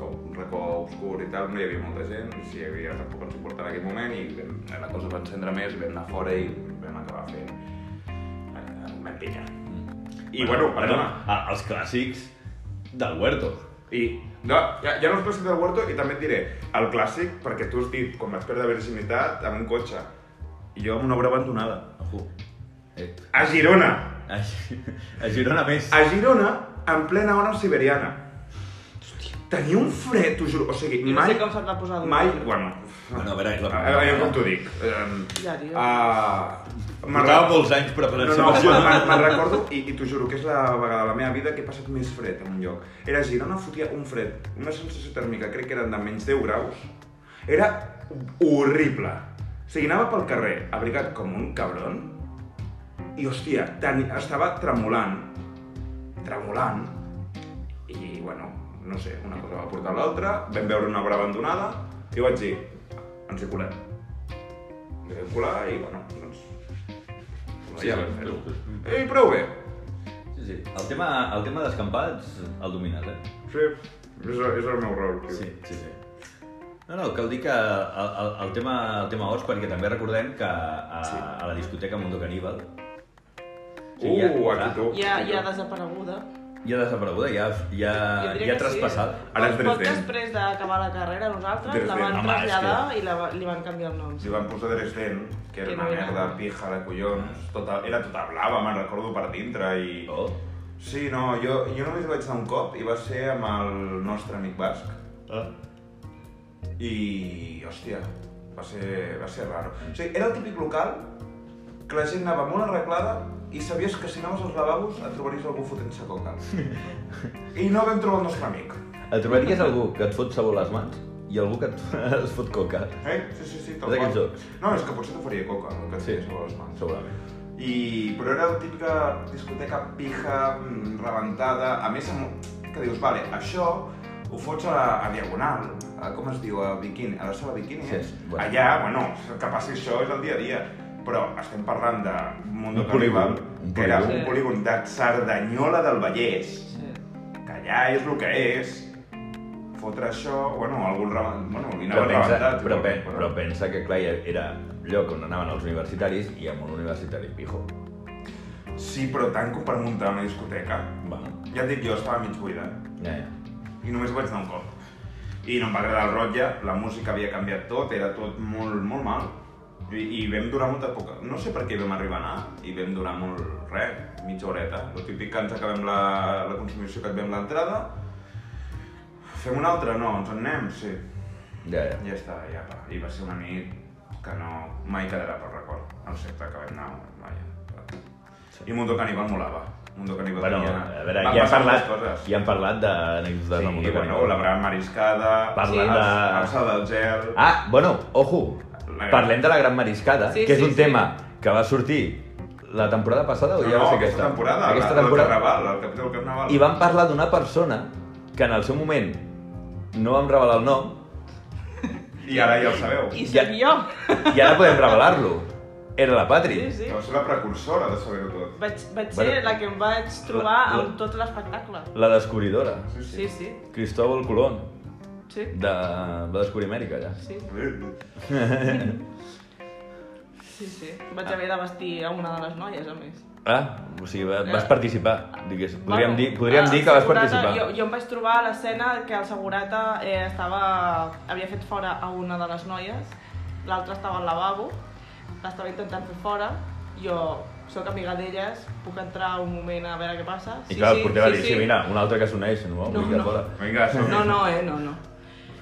S2: un racó obscur i tal, no hi havia molta gent, si hi havia tampoc ens importava en aquell moment i vam- la cosa va encendre més, vam anar fora i vam acabar fent... eh, Vam pillar. I bueno, perdona.
S1: Ah, Els clàssics del huerto.
S2: I no, ja, ja no us presento el Huerto i també et diré el clàssic perquè tu has dit quan vas perdre virginitat amb un cotxe. I jo amb una obra abandonada.
S1: Ojo. Eh.
S2: A Girona!
S1: A, a Girona més.
S2: A Girona, en plena hora siberiana. Tenia un fred, t'ho juro. O sigui,
S3: No
S2: mai...
S3: sé com se'n va posar dur.
S2: Mai... Bueno...
S1: Bueno, Ah, a veure, la...
S2: A veure, Ah, com t'ho dic. Um,
S3: Ja, tio.
S2: uh,
S1: Portava molts anys preparant-se
S2: No,
S1: per
S2: no,
S1: això.
S2: me'n- me'n recordo, i, i t'ho juro, que és la vegada de la meva vida que he passat més fred en un lloc. Era a Girona, fotia un fred, una sensació tèrmica, crec que eren de menys 10 graus. Era horrible. O sigui, anava pel carrer, abrigat com un cabron, i hòstia, tan, estava tremolant, tremolant, i bueno, no sé, una cosa va portar a l'altra, vam veure una obra abandonada, i vaig dir, ens hi colem. Ens hi vam colar i bueno, doncs...
S1: Sí,
S2: ja
S1: sí,
S2: vam fer-ho.
S1: sí,
S2: I prou bé.
S1: Sí, sí. El tema, el tema d'escampats el domines, eh?
S2: Sí, és, és el meu rol, tio.
S1: Sí, sí, sí. No, no, cal dir que el, el, el tema, el tema horts, perquè també recordem que a, sí. a la discoteca Mundo Caníbal
S2: Uh,
S1: ja-
S2: aquí tu.
S3: Ja, ja desapareguda.
S1: ja desapareguda, ja, ja,
S3: Jo
S1: ja
S3: diria que sí.
S1: traspassada.
S2: Ara és
S3: Poc- poc
S2: 3D.
S3: després d'acabar la carrera, nosaltres
S2: Dresden.
S3: la van
S1: Home, és
S3: traslladar i la, va- li van canviar el nom.
S2: Li van posar Dresden, que era
S3: Que no
S2: una
S3: era.
S2: merda pija de collons, tota, era tota blava, me'n recordo per dintre, i...
S1: Oh,
S2: Sí, no, jo, jo només vaig anar un cop i va ser amb el nostre amic basc.
S1: Ah.
S2: I, hòstia, va ser, va ser raro. O sigui, era el típic local que la gent anava molt arreglada i sabies que si anaves als lavabos et trobaries algú fotent-se coca. I no vam trobar el nostre amic.
S1: et trobaries algú que et fot sabó a les mans i algú que et, et fot coca,
S2: Eh? Sí, sí, sí, tal
S1: És d'aquests
S2: qual.
S1: jocs.
S2: No, és que potser t'ho faria coca, el que et
S1: Sí.
S2: sí. sobre les mans.
S1: segurament.
S2: I, però era la típica discoteca pija, mm, rebentada, a més amb, que dius, vale, això ho fots a, la- a Diagonal, a, com es diu, a Bikini, a la sala Bikini,
S1: Sí,
S2: és?
S1: bueno.
S2: allà, bueno, que passi això és el dia a dia, però estem parlant de Mundo
S1: Un polígon,
S2: Carnival,
S1: un
S2: que era
S1: polígon.
S2: un
S3: Sí.
S2: polígon de Cerdanyola del Vallès,
S3: Sí.
S2: que allà és el que és, fotre això, bueno, algun rebent, bueno, hi
S1: Però
S2: anava
S1: pensa,
S2: rebentat.
S1: però, pe- però pensa que, clar, ja era lloc on anaven els universitaris i amb un universitari pijo.
S2: Sí, però tant com per muntar una discoteca.
S1: Bueno,
S2: Ja et dic jo, estava mig buida.
S1: ja, ja.
S2: i només vaig anar un cop. I no em va agradar el rotlle, la música havia canviat tot, era tot molt, molt mal. I, i vam durar molta poca... No sé per què hi vam arribar a anar i vam durar molt... res, mitja horeta. El típic que ens acabem la, la consumició, que et vem l'entrada, fem una altra, no, ens en anem, sí.
S1: ja, ja.
S2: Ja està, ja va. I va ser una nit que no... mai quedarà per record, excepte que vam anar mai. I Mundo Caníbal molava. Mundo Caníbal
S1: Bueno,
S2: tenia...
S1: a veure,
S2: van
S1: ja hem
S2: passar moltes
S1: parlat,
S2: coses.
S1: ja hem parlat d'anècdotes
S2: Sí,
S1: de Mundo
S2: bueno, la gran mariscada,
S1: Parlem
S2: el,
S1: de-
S2: el sal del gel...
S1: Ah, bueno, ojo,
S2: La gran-
S1: parlem de la Gran Mariscada,
S3: Sí,
S1: que és
S3: sí,
S1: un
S3: sí.
S1: tema que va sortir la temporada passada o
S2: no,
S1: ja va
S2: no,
S1: ser
S2: aquesta
S1: aquesta?
S2: temporada,
S1: aquesta
S2: la,
S1: temporada.
S2: el carnaval, el capítol del carnaval.
S1: I vam parlar d'una persona que en el seu moment no vam revelar el nom
S2: I ara ja el sabeu.
S3: I
S1: Ja-
S3: soc jo!
S1: i ara podem revelar-lo. Era la Patri.
S3: Sí, sí.
S2: Deu ser la precursora de saber-ho tot.
S3: Vaig, vaig ser
S1: Bueno.
S3: la que em vaig trobar
S1: La- la-
S3: amb tot l'espectacle.
S1: La descobridora.
S3: Sí, sí.
S1: Cristóbal Colón.
S3: Sí.
S1: De... Va descobrir Amèrica, allà.
S3: Sí,
S2: Sí.
S3: sí, sí.
S2: Ah.
S3: Vaig haver de vestir a una de les noies, a més.
S1: Ah, o sigui, va- vas participar, digués. Podríem,
S3: Bueno,
S1: dir, podríem
S3: el
S1: dir que vas
S3: segurata-
S1: participar.
S3: Jo, jo em vaig trobar a l'escena que el segurata eh, estava, havia fet fora a una de les noies, l'altra estava al lavabo, l'estava intentant fer fora, jo sóc amiga d'elles, puc entrar un moment a veure què passa.
S1: I clar, el porter va dir, sí, mira, un altre que s'uneix, no?
S3: No,
S1: Vull que
S3: no.
S1: fora.
S2: Vinga, som
S3: No, no, eh, no, no.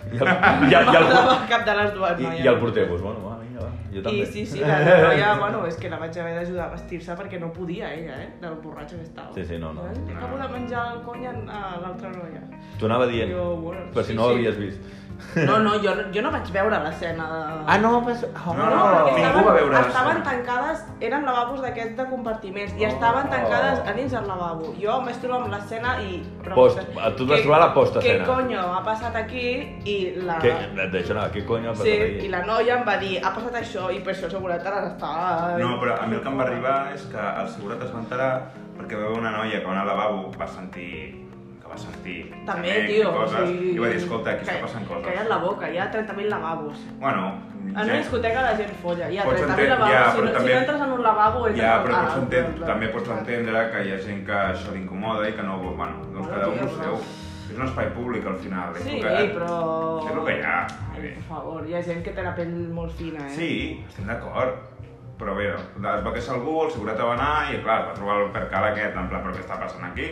S1: I el, i el, i el,
S3: M'agradava cap de les dues
S1: i,
S3: noies.
S1: i el porter, doncs, bueno, va, vinga, va, jo també.
S3: I sí, sí, la noia, bueno, és que la vaig haver d'ajudar a vestir-se perquè no podia ella, eh, del borratxo que estava.
S1: Sí, sí, no, no.
S3: Eh? Acabo de menjar el cony a a l'altra noia.
S1: T'ho anava dient,
S3: Jo, bueno,
S1: per si
S3: sí,
S1: no ho
S3: sí.
S1: havies vist.
S3: No, no, jo, jo no vaig veure l'escena de...
S1: no, pues... Oh,
S2: No, no, no,
S3: perquè
S2: ningú
S3: estaven,
S2: va veure l'escena.
S3: Estaven tancades, eren lavabos d'aquests de compartiments,
S1: Oh.
S3: i estaven tancades a dins del lavabo. Jo em vaig trobar amb l'escena i... però-
S1: Post- tu et vas
S3: Què-
S1: trobar la postescena.
S3: Què conyo ha passat aquí? I la...
S1: Què, d'això no, què cony ha passat
S3: Sí,
S1: aquí?
S3: i la noia em va dir, ha passat això, i per això seguretat ara està...
S2: No, però a mi el que em va arribar és que el segurat es va enterar perquè va veure una noia que va anar al lavabo, va sentir que va sentir
S3: També,
S2: gemec i
S3: tio,
S2: eh, coses,
S3: o sigui...
S2: i va dir, escolta, aquí està
S3: ca-
S2: passant coses.
S3: Calla't la Ah, boca, hi ha 30.000 lavabos.
S2: Bueno,
S3: En una discoteca la gent folla, hi ha
S2: Pots
S3: 30.000
S2: entendre-
S3: lavabos,
S2: ja, però
S3: si, no,
S2: també-
S3: si no entres en un lavabo... entres
S2: Ja,
S3: en-
S2: però
S3: ah,
S2: pots entendre,
S3: clar, clar.
S2: també pots entendre que hi ha gent que això l'incomoda i que no... Bueno, doncs
S3: Bueno,
S2: cada un
S3: tio,
S2: ho
S3: però-
S2: seu. És un espai públic al final. és
S3: Sí,
S2: el que-
S3: però...
S2: És el que hi ha.
S3: Ai, per favor, hi ha gent que té la pell molt fina, eh?
S2: Sí, estem d'acord.
S6: Però bé, es va queixar algú, el segurata va anar i clar, es va trobar el percal aquest, en plan, però què està passant aquí?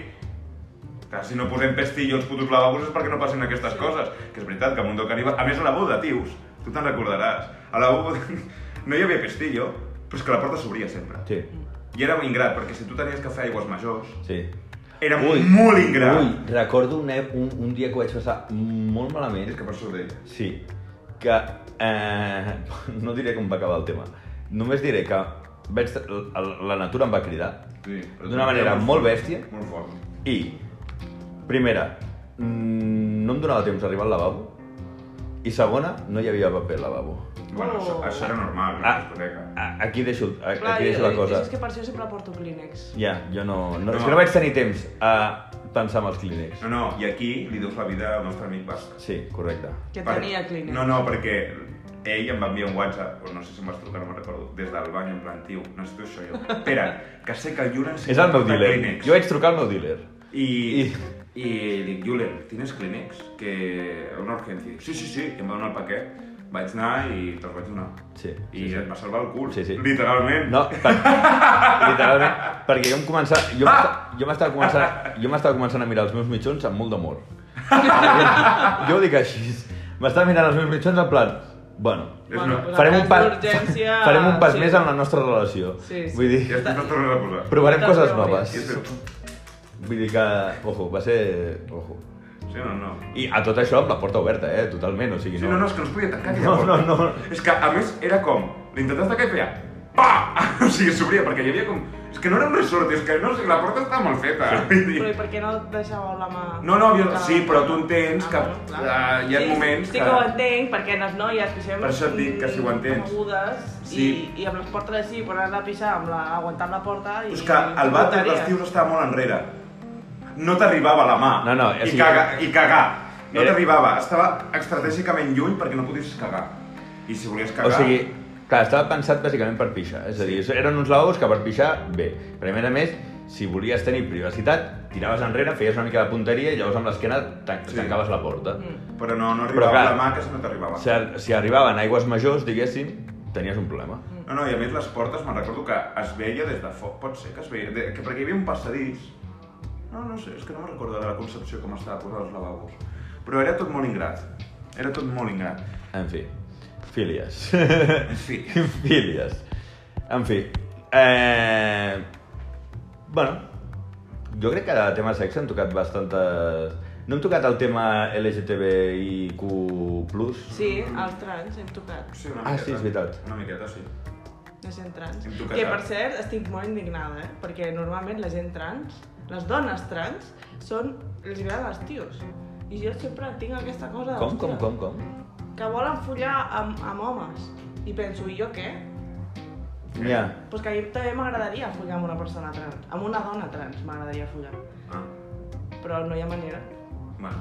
S6: Clar, si no posem pestillo als putos lavabos és perquè no passen aquestes coses. Que és veritat que al Mundo Caribe... A més, a la boda, tios, tu te'n recordaràs. A la boda no hi havia pestillo, però és que la porta s'obria sempre.
S1: Sí,
S6: I era ingrat, perquè si tu tenies que fer aigües majors,
S1: sí.
S6: era molt ingrat.
S1: Ui, recordo un, ep- un, un dia que ho vaig passar molt malament.
S6: És que per sort d'ell.
S1: Sí, que... Eh, no diré com va acabar el tema. Només diré que vaig, la, la natura em va cridar
S6: Sí, però
S1: d'una
S6: també
S1: manera
S6: era
S1: molt
S6: fort,
S1: bèstia
S6: Molt fort.
S1: i, primera, mm, no em donava temps d'arribar al lavabo i segona, no hi havia paper al lavabo.
S6: Bueno, això, això era normal, una
S1: Ah.
S6: discoteca.
S1: A, aquí deixo, a,
S3: Clar,
S1: aquí deixo la
S3: jo-
S1: cosa.
S3: És que per això sempre porto Kleenex.
S1: Ja, jo no, no...
S6: No.
S1: És que no vaig tenir temps a pensar en els clínics.
S6: No, no, i aquí li deus la vida al nostre amic basc.
S1: Sí, correcte.
S3: Que
S6: Per-
S3: tenia Kleenex.
S6: No, no, perquè ell em va enviar un WhatsApp, o no sé si em vas trucar, no me'n recordo, des del bany, en plan, tio, necessito això jo. Espera, que sé que el Julen... sí
S1: És
S6: que
S1: el meu
S6: porta
S1: dealer.
S6: Kleenex.
S1: Jo vaig trucar al meu dealer.
S6: I,
S1: I-
S6: I, i dic, Julen, tienes Kleenex? Que una urgència. Dic, sí, sí, sí, i em va donar el paquet. Vaig anar i te'ls vaig donar.
S1: Sí,
S6: I
S1: sí, sí.
S6: et va salvar el cul,
S1: Sí, sí.
S6: literalment.
S1: No, per, literalment, perquè jo em començava...
S6: Ah!
S1: Jo m'esta- jo m'estava començant, jo m'estava començant a mirar els meus mitjons amb molt d'amor. jo ho dic així. M'estava mirant els meus mitjons en plan... Bueno,
S6: És una...
S3: Bueno,
S1: farem un,
S3: cas
S1: pas,
S3: d'urgència,
S1: farem un pas
S3: sí.
S1: més en la nostra relació.
S3: Sí, sí.
S1: Vull
S6: I
S1: dir,
S6: després te'ls tornes a posar.
S1: provarem
S3: Moltes
S1: coses
S3: memòries.
S1: noves.
S6: I després...
S1: Vull dir que, ojo, va ser... Ojo.
S6: Sí, no, no.
S1: I a tot això amb la porta oberta, eh? Totalment, o sigui,
S6: Sí,
S1: no...
S6: no, no, és que no es podia tancar aquella
S1: No,
S6: porta.
S1: no, no.
S6: És que, a més, era com... L'intentes tancar i feia... Pa! O sigui, s'obria, perquè hi havia com... És que no era un resort, és que no, sé, la porta estava mal feta. Vull dir-
S3: Però i per què no et deixàveu la mà?
S6: No, no, jo-
S3: Ah,
S6: sí, però tu entens
S3: ah,
S6: que,
S3: bueno, clar.
S6: eh, hi ha
S3: sí,
S6: moments
S3: sí
S6: que-
S3: Sí que ho entenc, perquè les noies que són...
S6: Per això et dic que si ho entens.
S3: Agudes, sí.
S6: Sí.
S3: i, i amb les portes així, però anar a pixar, amb la, aguantant la porta... I,
S6: Però és que el vàter dels tios estava molt enrere. No t'arribava la mà.
S1: No, no, o
S6: I,
S1: sigui-
S6: caga, I cagar. No
S1: Era-
S6: t'arribava. Estava estratègicament lluny perquè no podies cagar. I si volies cagar...
S1: O sigui, clar, estava pensat bàsicament per pixar, és a dir, eren uns lavabos que per pixar, bé. Però a més a més, si volies tenir privacitat, tiraves enrere, feies una mica de punteria i llavors amb l'esquena tan-
S6: Sí.
S1: tancaves la porta.
S3: Mm.
S6: Però no, no
S1: Però
S6: arribava
S1: clar.
S6: la mà, que si no t'arribava.
S1: Si, ar- si arribaven aigües majors, diguéssim, tenies un problema.
S3: Mm.
S6: No, no, i a més les portes, me'n recordo que es veia des de foc, pot ser que es veia, de, que perquè hi havia un passadís... No, no sé, és que no me'n recordo de la concepció com estava posada als lavabos. Però era tot molt ingrat. Era tot molt ingrat.
S1: En fi, fílies.
S6: En fi,
S1: fílies. En fi, eh... Bueno, jo crec que de tema sexe hem tocat bastantes... No hem tocat el tema LGTBIQ+.
S3: Sí, els trans hem tocat.
S6: sí, una
S1: Ah, sí, és veritat.
S6: Una miqueta, sí.
S3: La gent trans.
S6: Hem tocat
S3: Que, per
S6: ara.
S3: cert, estic molt indignada, eh? Perquè normalment la gent trans, les dones trans, són... els agraden els tios. I jo sempre tinc aquesta cosa de...
S1: Com, com,
S3: "Hòstia,
S1: com, com?
S3: que volen follar amb, amb homes. I penso, i jo què?
S1: Ja.
S3: Pues que a mi també m'agradaria follar amb una persona trans, amb una dona trans m'agradaria follar,
S6: Ah,
S3: però no hi ha manera.
S6: bueno.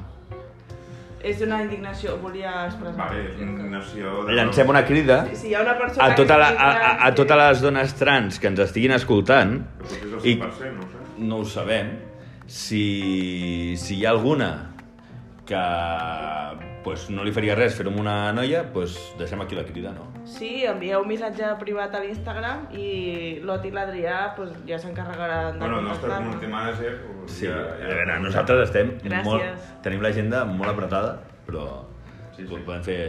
S3: És una indignació, volia expressar.
S6: Vale, és una nació... De...
S1: Llancem una crida
S3: Si hi ha una persona...
S1: a, tota la,
S3: que
S1: a,
S3: sigui
S1: a, a
S3: trans,
S1: totes les dones trans que ens estiguin escoltant.
S6: Que potser és el
S1: I-
S6: 100%, no ho sé.
S1: No ho sabem. Si, si hi ha alguna que pues, no li faria res fer-ho amb una noia, pues, deixem aquí la crida, no?
S3: Sí, envieu un missatge privat a l'Instagram i l'Oti i l'Adrià pues, ja s'encarregaran de
S6: Bueno, el nostre
S3: contactar-me.
S6: community manager... pues,
S1: Sí,
S6: ja-
S1: a
S6: ja-
S1: veure, nosaltres estem
S3: Gràcies.
S1: molt... Tenim l'agenda molt apretada, però
S6: Sí, sí.
S1: po- podem fer,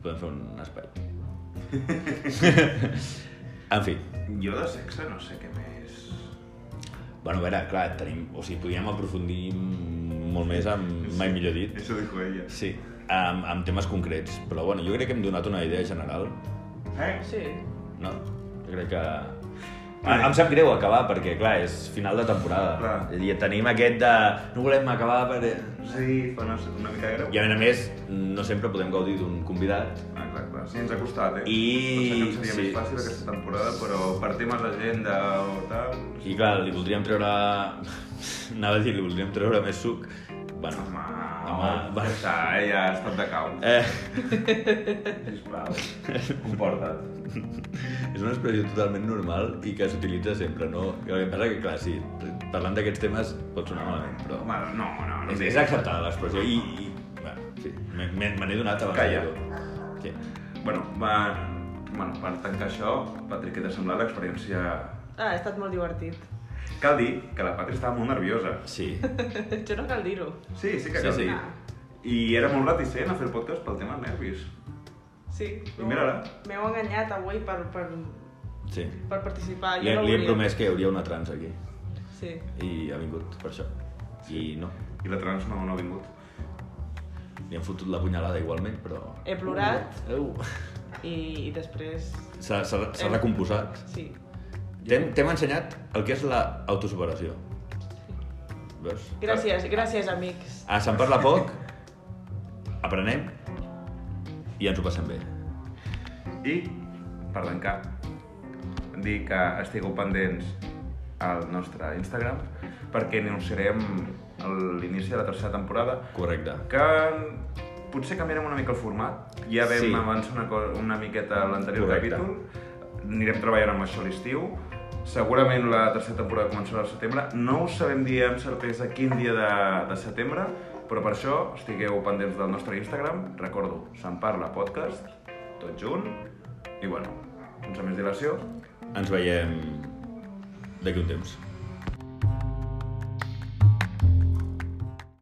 S1: podem fer un espai. en fi,
S6: Jo de sexe no sé què més...
S1: bueno, a veure, clar, tenim, o sigui, podíem aprofundir molt més amb, mai millor dit,
S6: Això dijo ella.
S1: sí, amb, amb temes concrets, però bueno, jo crec que hem donat una idea general,
S6: Eh?
S3: Sí,
S1: no? Jo crec que... Ah, Em sap greu acabar, perquè clar, és final de temporada,
S6: Clar.
S1: i tenim aquest de... No volem acabar per...
S6: Sí, fa una, una mica greu.
S1: I a més a més, no sempre podem gaudir d'un convidat.
S6: Exacte, sí, ens ha costat, eh?
S1: I-
S6: Potser que ens seria
S1: sí.
S6: més fàcil aquesta temporada, però per temes d'agenda o tal...
S1: I clar, li voldríem treure... Anava a dir, li voldríem treure més suc. Bueno,
S6: Home,
S1: home, va.
S6: ja està, eh? ja ha estat de cau.
S1: Eh,
S6: Sisplau, comporta't.
S1: és una expressió totalment normal i que s'utilitza sempre, no? El que passa que, clar, sí, parlant d'aquests temes pot sonar malament, però...
S6: Home, no, no, no.
S1: És, és acceptada l'expressió i... i bueno, sí, me, me, me n'he donat abans.
S6: Calla.
S1: de tot. Sí.
S6: Bueno, va... bueno, per tancar això, Patri, què t'ha semblat l'experiència...
S3: Ah, ha estat molt divertit.
S6: Cal dir que la Patri estava molt nerviosa.
S1: Sí.
S3: Això no cal dir-ho. Ah,
S6: Sí, sí que
S1: Sí,
S6: cal
S1: sí.
S6: dir. I era molt reticent a fer el podcast pel tema nervis.
S3: Sí.
S6: I mira-la.
S3: M'heu enganyat avui per, per,
S1: sí.
S3: per participar. Ah, Jo
S1: Li,
S3: no
S1: li hem
S3: volia.
S1: promès que hi hauria una trans aquí.
S3: Sí.
S1: I ha vingut per això. I no.
S6: I la trans no, no ha vingut.
S1: Li han fotut la punyalada igualment, però...
S3: He plorat
S1: Au.
S3: i, i després...
S1: S'ha s'ha-
S3: Eh.
S1: s'ha recomposat.
S3: Sí.
S1: T'hem t'hem ensenyat el que és l'autosuperació. Veus?
S6: Ah.
S3: Gràcies, gràcies, amics.
S1: A se'n parla poc, aprenem i ens ho passem bé.
S6: I, per tancar, dir que estigueu pendents al nostre Instagram perquè anunciarem el- l'inici de la tercera temporada
S1: Correcte.
S6: que potser canviarem una mica el format. Ja vam
S1: Sí.
S6: sí. avançar una, co- una miqueta a l'anterior
S1: Correcte.
S6: capítol. Anirem treballant amb això a l'estiu. Segurament la tercera temporada començarà al setembre. No ho sabem dir amb certesa quin dia de, de setembre, però per això estigueu pendents del nostre Instagram. Recordo, se'n parla podcast, tot junt. I bueno, sense més dilació,
S1: Ens veiem d'aquí un temps.